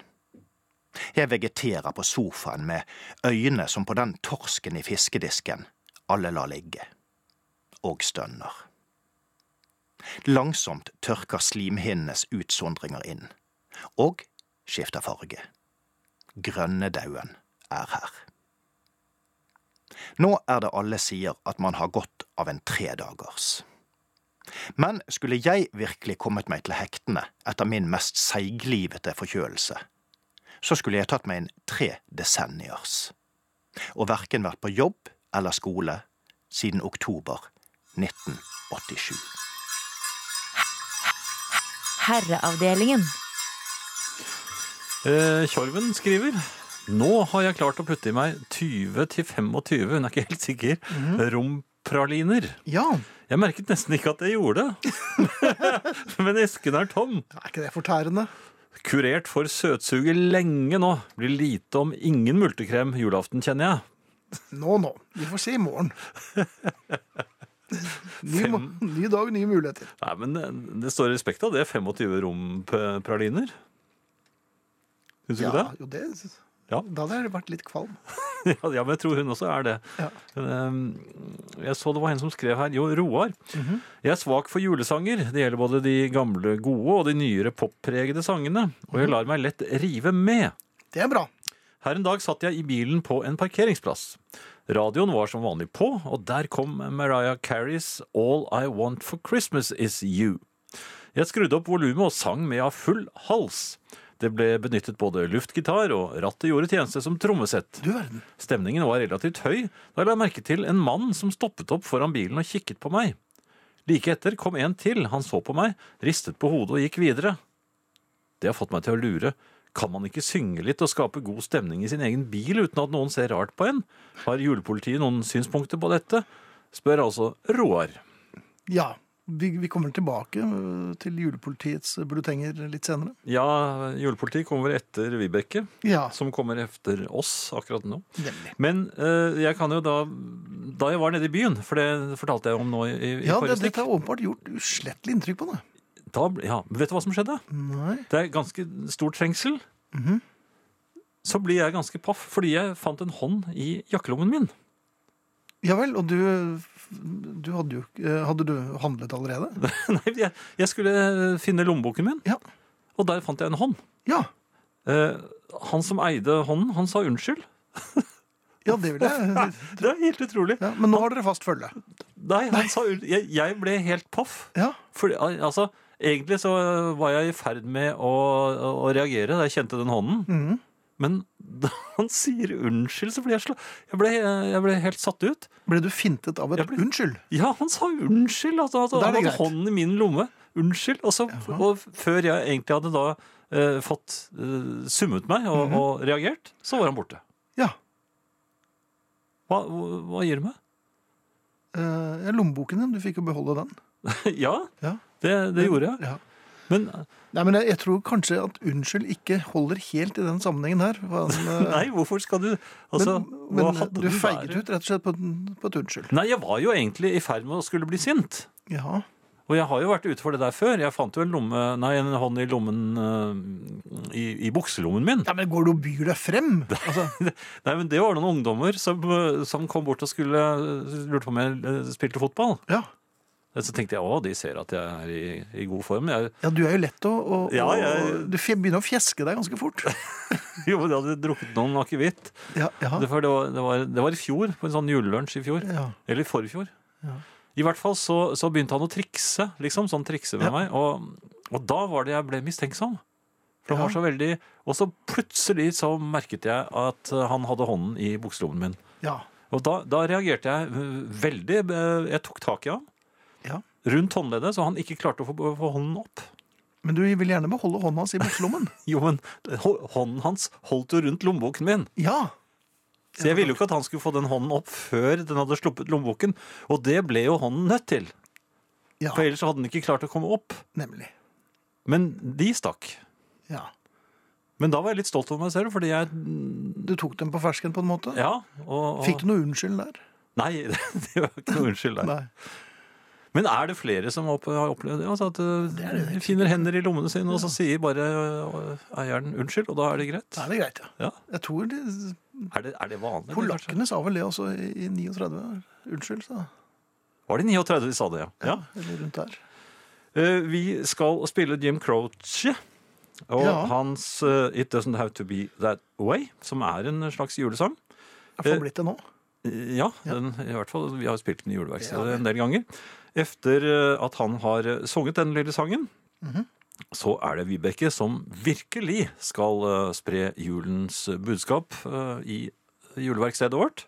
Speaker 14: Jeg vegeterer på sofaen med øyne som på den torsken i fiskedisken alle lar ligge, og stønner. Langsomt tørker slimhinnenes utsondringer inn, og skifter farge. Grønnedauden er her. Nå er det alle sier at man har godt av en tredagers. Men skulle jeg virkelig kommet meg til hektene etter min mest seiglivete forkjølelse, så skulle jeg tatt meg en tre desenniers, og verken vært på jobb eller skole siden oktober 1987.
Speaker 10: Herreavdelingen.
Speaker 5: Eh, Tjorven skriver Nå har jeg klart å putte i meg 20-25, hun er ikke helt sikker,
Speaker 4: Mhm.
Speaker 5: rompraliner.
Speaker 4: Ja.
Speaker 5: Jeg merket nesten ikke at jeg gjorde det. [laughs] Men esken er tom.
Speaker 4: Er ikke det fortærende?
Speaker 5: Kurert for søtsuger lenge nå. Blir lite om ingen multekrem julaften, kjenner jeg.
Speaker 4: Nå, nå. Vi får se
Speaker 5: [laughs]
Speaker 4: i morgen. Ny,
Speaker 5: Fem.
Speaker 4: mo- ny dag, nye muligheter.
Speaker 5: Nei, men det- Det står respekt av det. 25 rompraliner. Syns du
Speaker 4: ja,
Speaker 5: ikke det?
Speaker 4: Jo, det
Speaker 5: Ja. [laughs]
Speaker 4: Da hadde jeg vært litt kvalm.
Speaker 5: ja, ja, men jeg tror hun også er det. Um, Jeg så det var en som skrev her. Jo, Roar. Jeg er svak for julesanger. Det gjelder både de gamle gode og de nyere poppregede sangene. Og jeg lar meg lett rive med.
Speaker 4: Det er bra.
Speaker 5: Her en dag satt jeg i bilen på en parkeringsplass. Radioen var som vanlig på, og der kom Mariah Careys All I Want for Christmas Is You. Jeg skrudde opp volumet og sang med av full hals. Det ble benyttet både luftgitar, og rattet gjorde tjeneste som trommesett. Stemningen var relativt høy da jeg la merke til en mann som stoppet opp foran bilen og kikket på meg. Like etter kom en til. Han så på meg, ristet på hodet og gikk videre. Det har fått meg til å lure. Kan man ikke synge litt og skape god stemning i sin egen bil uten at noen ser rart på en? Har julepolitiet noen synspunkter på dette? Spør altså Roar.
Speaker 4: Ja. Vi, vi kommer tilbake øh, til julepolitiets bulletenger litt senere.
Speaker 5: Ja, julepolitiet kommer etter Vibeke,
Speaker 4: Ja.
Speaker 5: som kommer efter oss akkurat nå. Men eh, jeg kan jo da Da jeg var nede i byen, for det fortalte jeg om nå i, i
Speaker 4: Ja,
Speaker 5: forrige
Speaker 4: det,
Speaker 5: stikk
Speaker 4: dette har åpenbart gjort uslettelig inntrykk på deg.
Speaker 5: da, ble- ja, Vet du hva som skjedde?
Speaker 4: Nei.
Speaker 5: Det er ganske stor trengsel.
Speaker 4: Mhm.
Speaker 5: Så blir jeg ganske paff fordi jeg fant en hånd i jakkelommen min. [laughs]
Speaker 4: Ja vel, og du, du hadde jo ikke- eh, Hadde du handlet allerede?
Speaker 5: Nei, jeg, jeg skulle eh, finne lommeboken min, og der fant jeg en hånd. Eh, han som eide hånden, han sa unnskyld.
Speaker 4: Ja, det vil jeg.
Speaker 5: Det er helt utrolig.
Speaker 4: men nå har dere fast følge.
Speaker 5: Nei, han sa unnskyld. Jeg, jeg ble helt paff. Fordi, al- altså, egentlig så var jeg i ferd med å, å, å reagere da jeg kjente den hånden.
Speaker 4: Mhm.
Speaker 5: Men [laughs] da han sier unnskyld, så ble jeg, slå, jeg, ble, jeg ble helt satt ut.
Speaker 4: Ble du fintet av et unnskyld?
Speaker 5: Ja, han sa unnskyld. Altså, altså,
Speaker 4: Da er
Speaker 5: han
Speaker 4: det
Speaker 5: hadde
Speaker 4: greit.
Speaker 5: hånden i min lomme. Unnskyld. Og, så, og før jeg egentlig hadde da eh, fått eh, summet meg og,
Speaker 4: Mhm.
Speaker 5: og reagert, så var han borte.
Speaker 4: Ja.
Speaker 5: Hva, hva, hva gir du meg? [laughs]
Speaker 4: Eh, ja, lommeboken din, du fikk jo beholde den.
Speaker 5: ja, Det, det gjorde jeg. Men,
Speaker 4: [laughs] Nei, men jeg, jeg tror kanskje at unnskyld ikke holder helt i den sammenhengen her. for han, eh,
Speaker 5: Nei, hvorfor skal du altså,
Speaker 4: men
Speaker 5: hva hadde
Speaker 4: du
Speaker 5: det
Speaker 4: feiget
Speaker 5: vært?
Speaker 4: ut rett og slett på, et- på et unnskyld.
Speaker 5: Nei, jeg var jo egentlig i ferd med å skulle bli sint.
Speaker 4: Ja.
Speaker 5: Og jeg har jo vært ute for det der før. Jeg fant jo en, lomme, nei, en hånd i lommen eh, i, i bukselommen min.
Speaker 4: ja, men går du og byr deg frem? Altså,
Speaker 5: Nei, men Det var noen ungdommer som, eh, som kom bort og skulle lurte på om jeg eh, spilte fotball.
Speaker 4: Ja.
Speaker 5: Så tenkte jeg å, de ser at jeg er i, i god form. Jeg, [laughs]
Speaker 4: ja, du er jo lett å, å,
Speaker 5: Ja,
Speaker 4: å-
Speaker 5: jeg-
Speaker 4: Du fje- begynner å fjeske deg ganske
Speaker 5: [laughs]
Speaker 4: fort.
Speaker 5: jo, men jeg hadde drukket noen akevitt.
Speaker 4: Ja, ja.
Speaker 5: Det, for det, var- det, var- det var i fjor, på en sånn julelunsj i fjor.
Speaker 4: Ja.
Speaker 5: Eller i forfjor.
Speaker 4: Ja.
Speaker 5: I hvert fall så, så begynte han å trikse, liksom. Sånn trikse med meg. Og, og da var det jeg ble mistenksom. For han var så veldig Og så plutselig så merket jeg at eh, han hadde hånden i bukselommen min.
Speaker 4: Ja.
Speaker 5: Og da, da reagerte jeg øh, veldig. øh, Jeg tok tak i ham
Speaker 4: Ja.
Speaker 5: rundt håndleddet, så han ikke klarte å få, få hånden opp.
Speaker 4: Men du vil gjerne beholde hånda hans i bukselommen.
Speaker 5: Jo, men hå- hånden hans holdt jo rundt lommeboken min.
Speaker 4: [laughs] Ja.
Speaker 5: Så jeg ville jo ikke at han skulle få den hånden opp før den hadde sluppet lommeboken. Og det ble jo hånden nødt til.
Speaker 4: Ja.
Speaker 5: For ellers så hadde den ikke klart å komme opp.
Speaker 4: Nemlig.
Speaker 5: Men de stakk.
Speaker 4: Ja.
Speaker 5: Men da var jeg litt stolt over meg selv, fordi jeg
Speaker 4: Du tok dem på fersken på en måte?
Speaker 5: Ja. Og, og...
Speaker 4: Fikk du noe unnskyld der?
Speaker 5: Nei, [laughs] det var ikke noe unnskyld der.
Speaker 4: Nei.
Speaker 5: Men er det flere som opp- har opplevd det? Altså at uh, de finner hender i lommene sine, og så sier bare uh, eieren unnskyld, og da er det greit?
Speaker 4: Da er det greit, ja.
Speaker 5: Ja.
Speaker 4: Jeg tror de,
Speaker 5: Er det, er det vanlig? eller?
Speaker 4: Polakkene sa vel det også i i 39. Unnskyld, sa
Speaker 5: Var det 39 de sa det, ja? ja.
Speaker 4: Eller rundt der.
Speaker 5: Eh, Vi skal spille Jim Croce. Og hans eh, It Doesn't Have To Be That Way, som er en slags julesang. Eh,
Speaker 4: Har han blitt det nå?
Speaker 5: Ja, den, i hvert fall. Vi har spilt den i juleverkstedet en del ganger. Efter eh, at han har eh, sunget den lille sangen,
Speaker 4: Mhm.
Speaker 5: så er det Vibeke som virkelig skal eh, spre julens budskap eh, i juleverkstedet vårt.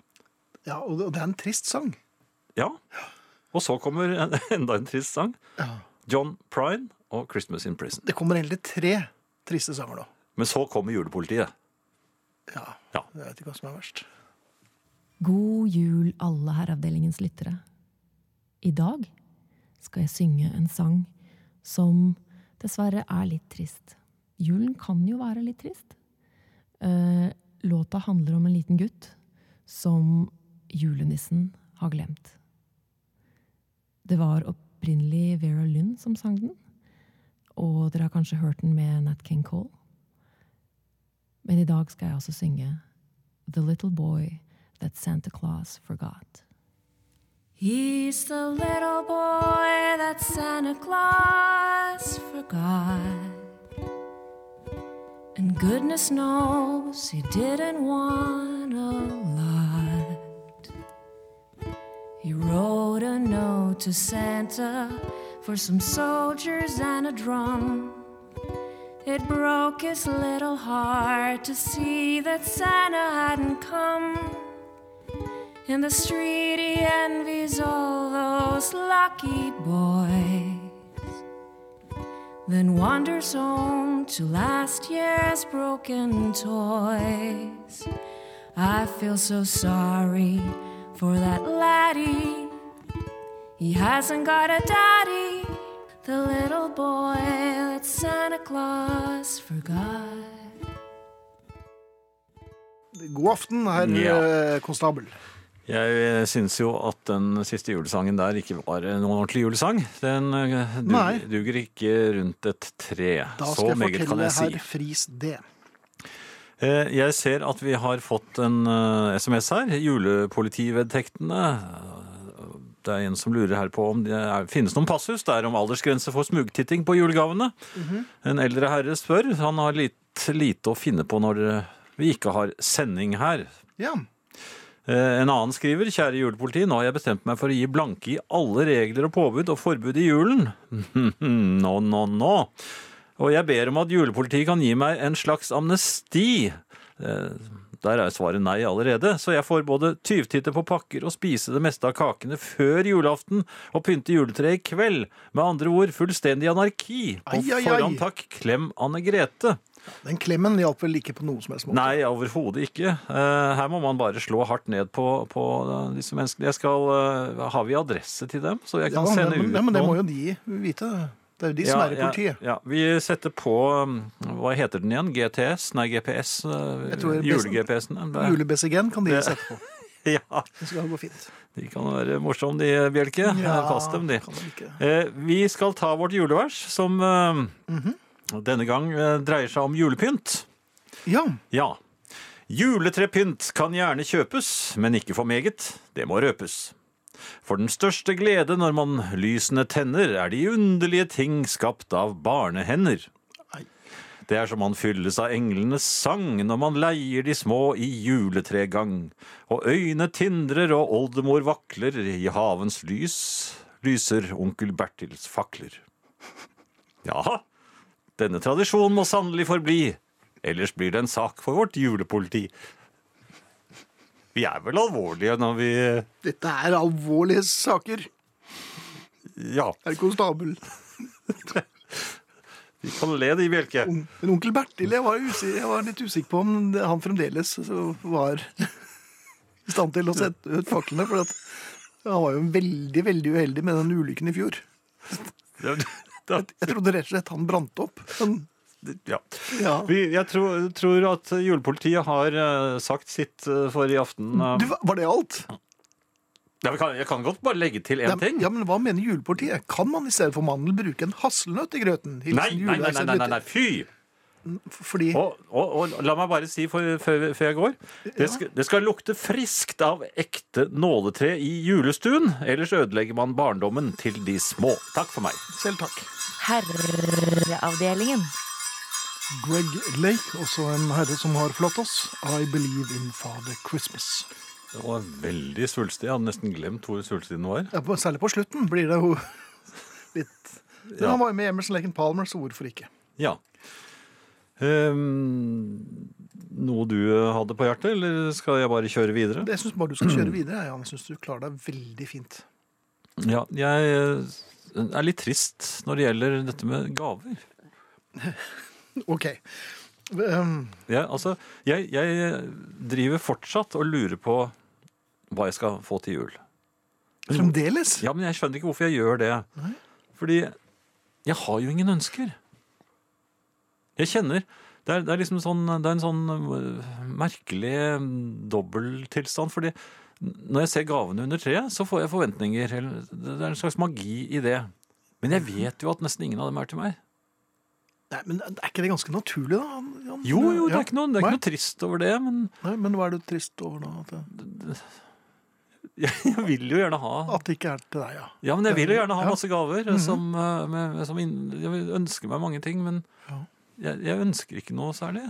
Speaker 4: Ja, og det og det er en trist sang.
Speaker 5: Ja. Og så kommer en, [laughs] enda en trist sang. John Prine og 'Christmas in Prison'.
Speaker 4: Det kommer egentlig tre triste sanger nå.
Speaker 5: Men så kommer julepolitiet.
Speaker 4: Jeg vet ikke hva som er verst.
Speaker 15: God jul, alle Herreavdelingens lyttere. I dag skal jeg synge en sang som dessverre er litt trist. Julen kan jo være litt trist. Eh, Låta handler om en liten gutt som julenissen har glemt. Det var opprinnelig Vera Lynn som sang den, og dere har kanskje hørt den med Nat King Cole. Men i dag skal jeg også synge The Little Boy That Santa Claus Forgot.
Speaker 16: He's the little boy that Santa Claus forgot. And goodness knows he didn't want a lot. He wrote a note to Santa for some soldiers and a drum. It broke his little heart to see that Santa hadn't come. In the street, he envies all those lucky boys. Then wanders home to last year's broken toys. I feel so sorry for that laddie. He hasn't got a daddy, the little boy that Santa Claus forgot.
Speaker 4: God aften, herr
Speaker 5: Ja.
Speaker 4: eh, konstabel.
Speaker 5: Jeg syns jo at den siste julesangen der ikke var eh, noen ordentlig julesang. Den eh,
Speaker 4: Nei.
Speaker 5: duger, duger ikke rundt et tre.
Speaker 4: Da
Speaker 5: Så
Speaker 4: skal jeg
Speaker 5: meget kan
Speaker 4: fortelle
Speaker 5: jeg si.
Speaker 4: herr Friis det.
Speaker 5: Eh, Jeg ser at vi har fått en eh, SMS her. Julepolitivedtektene. Eh, Det er en som lurer her på om det er, finnes noen passus der om aldersgrense for smugtitting på julegavene.
Speaker 4: Mhm.
Speaker 5: En eldre herre spør. Han har litt lite å finne på når eh, vi ikke har sending her.
Speaker 4: Ja.
Speaker 5: Eh, En annen skriver, kjære julepoliti, nå har jeg bestemt meg for å gi blanke i alle regler og påbud og forbud i julen. [laughs] Nå, nå, nå. Og jeg ber om at julepolitiet kan gi meg en slags amnesti. Eh, Der er svaret nei allerede, så jeg får både tyvtitte på pakker og spise det meste av kakene før julaften og pynte juletreet i kveld. Med andre ord fullstendig anarki. På
Speaker 4: Ai, ai, ai.
Speaker 5: forhånd takk, klem Anne Grete.
Speaker 4: Den klemmen hjalp vel ikke på noen som helst måte.
Speaker 5: Nei, overhodet ikke. Eh, Her må man bare slå hardt ned på, på eh, disse menneskene. Jeg skal, eh, har vi adresse til dem, så jeg kan
Speaker 4: Ja,
Speaker 5: sende
Speaker 4: men,
Speaker 5: ut
Speaker 4: ja, men det
Speaker 5: noen?
Speaker 4: må jo de vite. Det er jo de som
Speaker 5: Ja,
Speaker 4: er i politiet.
Speaker 5: Ja, ja. Vi setter på um, Hva heter den igjen? GTS? Nei, GPS.
Speaker 4: Jeg tror det er
Speaker 5: Jule-GPS-en.
Speaker 4: Julebessigen kan de
Speaker 5: Det-
Speaker 4: sette på.
Speaker 5: [laughs] Ja,
Speaker 4: Det skal gå fint.
Speaker 5: de kan være morsomme, de, Bjelke.
Speaker 4: Ja,
Speaker 5: Pass dem, de. Eh, Vi skal ta vårt julevers, som eh,
Speaker 4: Mhm.
Speaker 5: denne gang eh, dreier seg om julepynt.
Speaker 4: Ja.
Speaker 5: Ja. Juletrepynt kan gjerne kjøpes, men ikke for meget. Det må røpes. For den største glede når man lysene tenner, er de underlige ting skapt av barnehender. Det er som man fylles av englenes sang når man leier de små i juletregang, og øyne tindrer og oldemor vakler i havens lys, lyser onkel Bertils fakler. Ja, denne tradisjonen må sannelig forbli, ellers blir det en sak for vårt julepoliti. Vi er vel alvorlige når vi
Speaker 4: Dette er alvorlige saker,
Speaker 5: Ja,
Speaker 4: herr konstabel.
Speaker 5: vi kan le de, Bjelke.
Speaker 4: Men onkel Bertil, jeg var, usi- jeg var litt usikker på om det- han fremdeles var i stand til å sette ut faklene. For at han var jo veldig, veldig uheldig med den ulykken i fjor.
Speaker 5: Jeg,
Speaker 4: jeg trodde rett og slett han brant opp. Men
Speaker 5: Ja.
Speaker 4: Ja.
Speaker 5: Vi, jeg tror, tror at julepolitiet har eh, sagt sitt eh, for i aften. eh.
Speaker 4: du, var det alt?
Speaker 5: Ja, vi kan, jeg kan godt bare legge til
Speaker 4: Ja,
Speaker 5: én ting.
Speaker 4: ja, men Hva mener julepolitiet? Kan man i stedet for mandel bruke en hasselnøtt i grøten? Hilsen
Speaker 5: Nei, nei, nei, nei,
Speaker 4: juleverkstedet
Speaker 5: nei, nei, nei, fy!
Speaker 4: Fordi
Speaker 5: Og, og, og la meg bare si for, før, før jeg går det skal, det skal lukte friskt av ekte nåletre i julestuen. Ellers ødelegger man barndommen til de små. Takk for meg.
Speaker 4: Selv takk.
Speaker 10: Herreavdelingen.
Speaker 4: Greg Lake, også en herre som har forlatt oss. I Believe in Father Christmas.
Speaker 5: Det var veldig svulstig. Jeg hadde nesten glemt hvor svulstig den var.
Speaker 4: Ja, på, særlig på slutten blir det jo litt Men
Speaker 5: Ja.
Speaker 4: han var jo med Emerson Laken Palmer, så hvorfor ikke?
Speaker 5: Ja. Ehm, noe du hadde på hjertet, eller skal jeg bare kjøre videre?
Speaker 4: Jeg syns bare du skal kjøre videre. Jeg, Jan. Jeg syns du klarer deg veldig fint.
Speaker 5: Ja, jeg eh, er litt trist når det gjelder dette med gaver.
Speaker 4: OK. Um,
Speaker 5: Jeg, altså, jeg, jeg driver fortsatt og lurer på hva jeg skal få til jul.
Speaker 4: Fremdeles?
Speaker 5: Ja, men jeg skjønner ikke hvorfor jeg gjør det. Fordi jeg har jo ingen ønsker. Jeg kjenner Det er, det er liksom sånn, det er en sånn øh, merkelig øh, dobbelttilstand. Fordi når jeg ser gavene under treet, så får jeg forventninger. eller Det det er en slags magi i det. Men jeg vet jo at nesten ingen av dem er til meg.
Speaker 4: nei, men er ikke det ganske naturlig, da? Jan?
Speaker 5: Jo, jo, det
Speaker 4: Ja.
Speaker 5: er ikke noe, det er ikke noe trist over det, men [laughs]
Speaker 4: Nei, men hva er du trist over da? At det,
Speaker 5: jeg vil jo gjerne ha
Speaker 4: at det ikke er til deg, ja.
Speaker 5: Ja, men jeg vil jo gjerne ha
Speaker 4: Ja.
Speaker 5: masse gaver.
Speaker 4: Mhm.
Speaker 5: som, eh, med, som inn, jeg vil- ønsker meg mange ting, men jeg, jeg ønsker ikke noe særlig.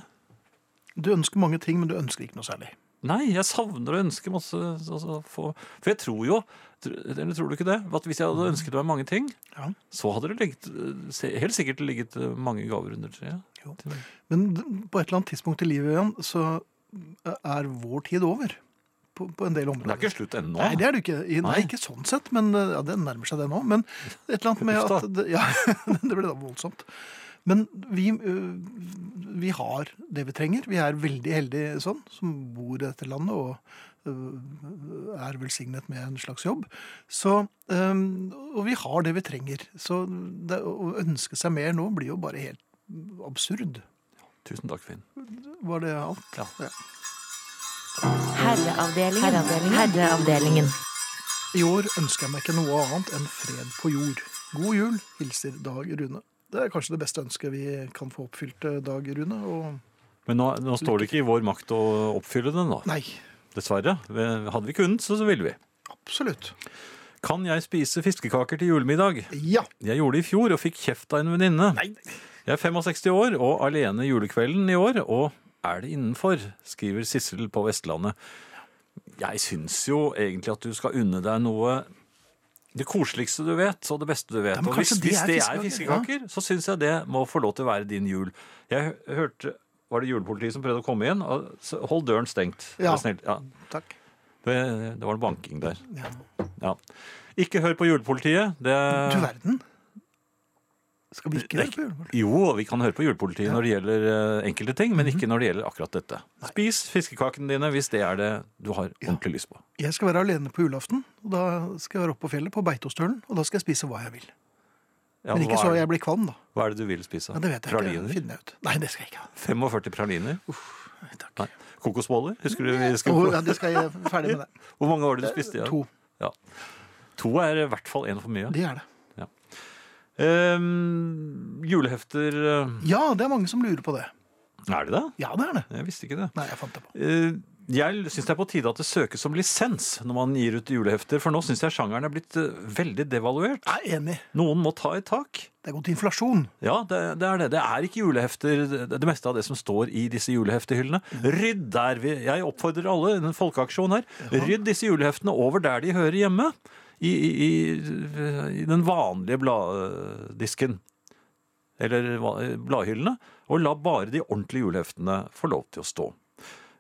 Speaker 4: Du ønsker mange ting, men du ønsker ikke noe særlig.
Speaker 5: Nei, jeg savner og ønsker masse. Altså, få- for jeg tror jo, tr- eller tror du ikke det, at hvis jeg hadde ønsket meg mange ting,
Speaker 4: Mhm. Ja.
Speaker 5: så hadde det ligget, eh, se- helt sikkert ligget eh, mange gaver under treet.
Speaker 4: Men d- på et eller annet tidspunkt i livet Jan, så er vår tid over. På, på en del
Speaker 5: Men det er
Speaker 4: områder.
Speaker 5: ikke slutt ennå.
Speaker 4: Nei, det er det ikke. I- Nei, ikke sånn sett, men uh, ja, det nærmer seg det nå. Men et eller annet med
Speaker 5: Uff da.
Speaker 4: at det, Ja, [laughs] det ble da voldsomt. Men vi, uh, vi har det vi trenger. Vi er veldig heldige sånn, som bor i dette landet og uh, er velsignet med en slags jobb. Så, um, og vi har det vi trenger. Så det, å ønske seg mer nå blir jo bare helt absurd.
Speaker 5: Tusen takk, Finn.
Speaker 4: Var det alt?
Speaker 5: Ja.
Speaker 10: Herreavdelingen. Herreavdelingen.
Speaker 4: I år ønsker jeg meg ikke noe annet enn fred på jord. God jul, hilser Dag Rune. Det er kanskje det beste ønsket vi kan få oppfylt, eh, Dag Rune. Og
Speaker 5: Men nå, nå står det ikke i vår makt å oppfylle den, da.
Speaker 4: Nei.
Speaker 5: Dessverre. Vi- Hadde vi kunnet, så, så ville vi.
Speaker 4: absolutt.
Speaker 5: Kan jeg spise fiskekaker til julemiddag?
Speaker 4: Ja.
Speaker 5: Jeg gjorde det i fjor og fikk kjeft av en venninne. Jeg er 65 år og alene julekvelden i år, og er det innenfor, skriver Sissel på Vestlandet. Jeg syns jo egentlig at du skal unne deg noe det koseligste du vet, og det beste du vet.
Speaker 12: Ja, men
Speaker 5: og hvis,
Speaker 12: kanskje det
Speaker 5: hvis
Speaker 12: er
Speaker 5: det er
Speaker 12: fiskekaker,
Speaker 5: fiskekaker, så syns jeg det må få lov til å være din jul. Jeg hø- hørte Var det julepolitiet som prøvde å komme igjen? Og så Hold døren stengt.
Speaker 4: Ja.
Speaker 5: vær snill. Ja.
Speaker 4: Takk.
Speaker 5: Det, det var en banking der. Ja. Ikke hør på julepolitiet. Det,
Speaker 4: Du verden. Skal vi ikke
Speaker 5: Eh. det er
Speaker 4: høre på julepolitiet?
Speaker 5: Jo, vi kan høre på julepolitiet når det gjelder eh, enkelte ting, men
Speaker 4: Mhm.
Speaker 5: ikke når det gjelder akkurat dette. Spis fiskekakene dine hvis det er det du har ordentlig lyst på.
Speaker 4: Jeg skal være alene på julaften, og da skal jeg være oppe på fjellet på Beitostølen, og da skal jeg spise hva jeg vil.
Speaker 5: Ja,
Speaker 4: Men ikke
Speaker 5: hva
Speaker 4: så
Speaker 5: er-
Speaker 4: jeg blir kvalm, da.
Speaker 5: Hva er det du vil spise?
Speaker 4: Ja, det vet jeg ikke.
Speaker 5: praliner?
Speaker 4: Det finner jeg ut. Nei, det skal jeg ikke ha.
Speaker 5: 45 praliner? Nei. Kokosboller? Husker du vi
Speaker 4: Å,
Speaker 5: skulle
Speaker 4: ja, det skal jeg ferdig
Speaker 5: [laughs]
Speaker 4: med det.
Speaker 5: Hvor mange var det du spiste? Ja?
Speaker 4: To.
Speaker 5: Ja. To er i hvert fall én for mye.
Speaker 4: Det er det.
Speaker 5: Ja. Ehm, julehefter eh,
Speaker 4: Ja, det er mange som lurer på det.
Speaker 5: Er det det?
Speaker 4: Ja, det er det.
Speaker 5: Jeg visste ikke det.
Speaker 4: Nei, jeg fant det på.
Speaker 5: Eh, Jeg syns det er på tide at det søkes om lisens når man gir ut julehefter, for nå syns jeg sjangeren er blitt eh, veldig devaluert.
Speaker 4: Jeg er enig.
Speaker 5: Noen må ta et tak.
Speaker 4: Det er gått inflasjon.
Speaker 5: Ja, det, det er det. Det er ikke julehefter. Det, det meste av det som står i disse juleheftehyllene. Rydd der vi Jeg oppfordrer alle, en folkeaksjon her, rydd disse juleheftene over der de hører hjemme. I, i, i, i den vanlige bladdisken. Eller hva- bladhyllene. Og la bare de ordentlige juleheftene få lov til å stå.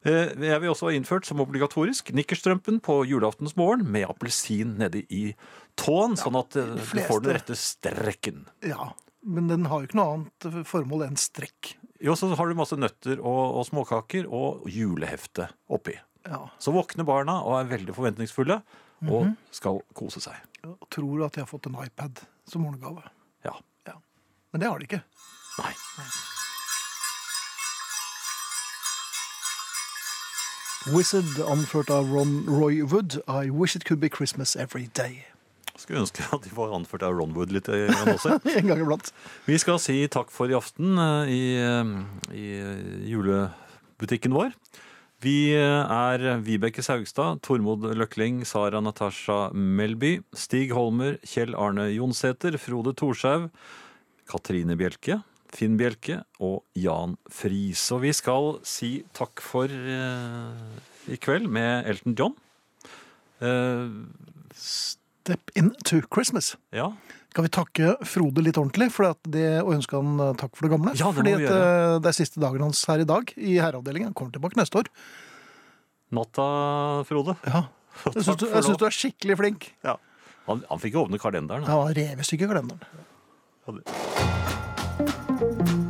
Speaker 5: Eh, Jeg vil også ha innført som obligatorisk nikkerstrømpen på julaftens morgen med appelsin nede i tåen, sånn at eh, du
Speaker 4: fleste.
Speaker 5: får den rette strekken.
Speaker 4: Ja, men den har jo ikke noe annet formål enn strekk.
Speaker 5: Jo, så har du masse nøtter og, og småkaker og julehefte oppi.
Speaker 4: Ja.
Speaker 5: Så våkner barna og er veldig forventningsfulle og skal kose seg.
Speaker 4: Og tror at de har fått en iPad som morgengave.
Speaker 5: Ja.
Speaker 4: Men det har de ikke.
Speaker 5: Nei.
Speaker 4: Wizard, anført av Ron Roy Wood, I wish it could be Christmas every day. [laughs]
Speaker 5: Skulle ønske at de var anført av Ron Wood litt eh, grann også.
Speaker 4: en gang iblant.
Speaker 5: Vi skal si takk for i aften eh, i, eh, i eh, julebutikken vår. Vi eh, er Vibeke Saugstad, Tormod Løkling, Sara Natasha Melby, Stig Holmer, Kjell Arne Jonsæter, Frode Thorshaug, Katrine Bjelke, Finn Bjelke og Jan Friis. Og vi skal si takk for eh, i kveld med Elton John. Eh,
Speaker 4: Step into Christmas.
Speaker 5: Ja.
Speaker 4: Skal vi takke Frode litt ordentlig for at det, og ønske han eh, takk for det gamle?
Speaker 5: Ja, det må
Speaker 4: fordi
Speaker 5: vi
Speaker 4: at,
Speaker 5: gjøre.
Speaker 4: eh, det er siste dagen hans her i dag i herreavdelingen. Han kommer tilbake neste år.
Speaker 5: natta, Frode.
Speaker 4: Jeg syns du, jeg synes du er skikkelig flink.
Speaker 5: Ja. Han, han fikk åpne kalenderen.
Speaker 4: Han var revestykke i kalenderen.
Speaker 5: han.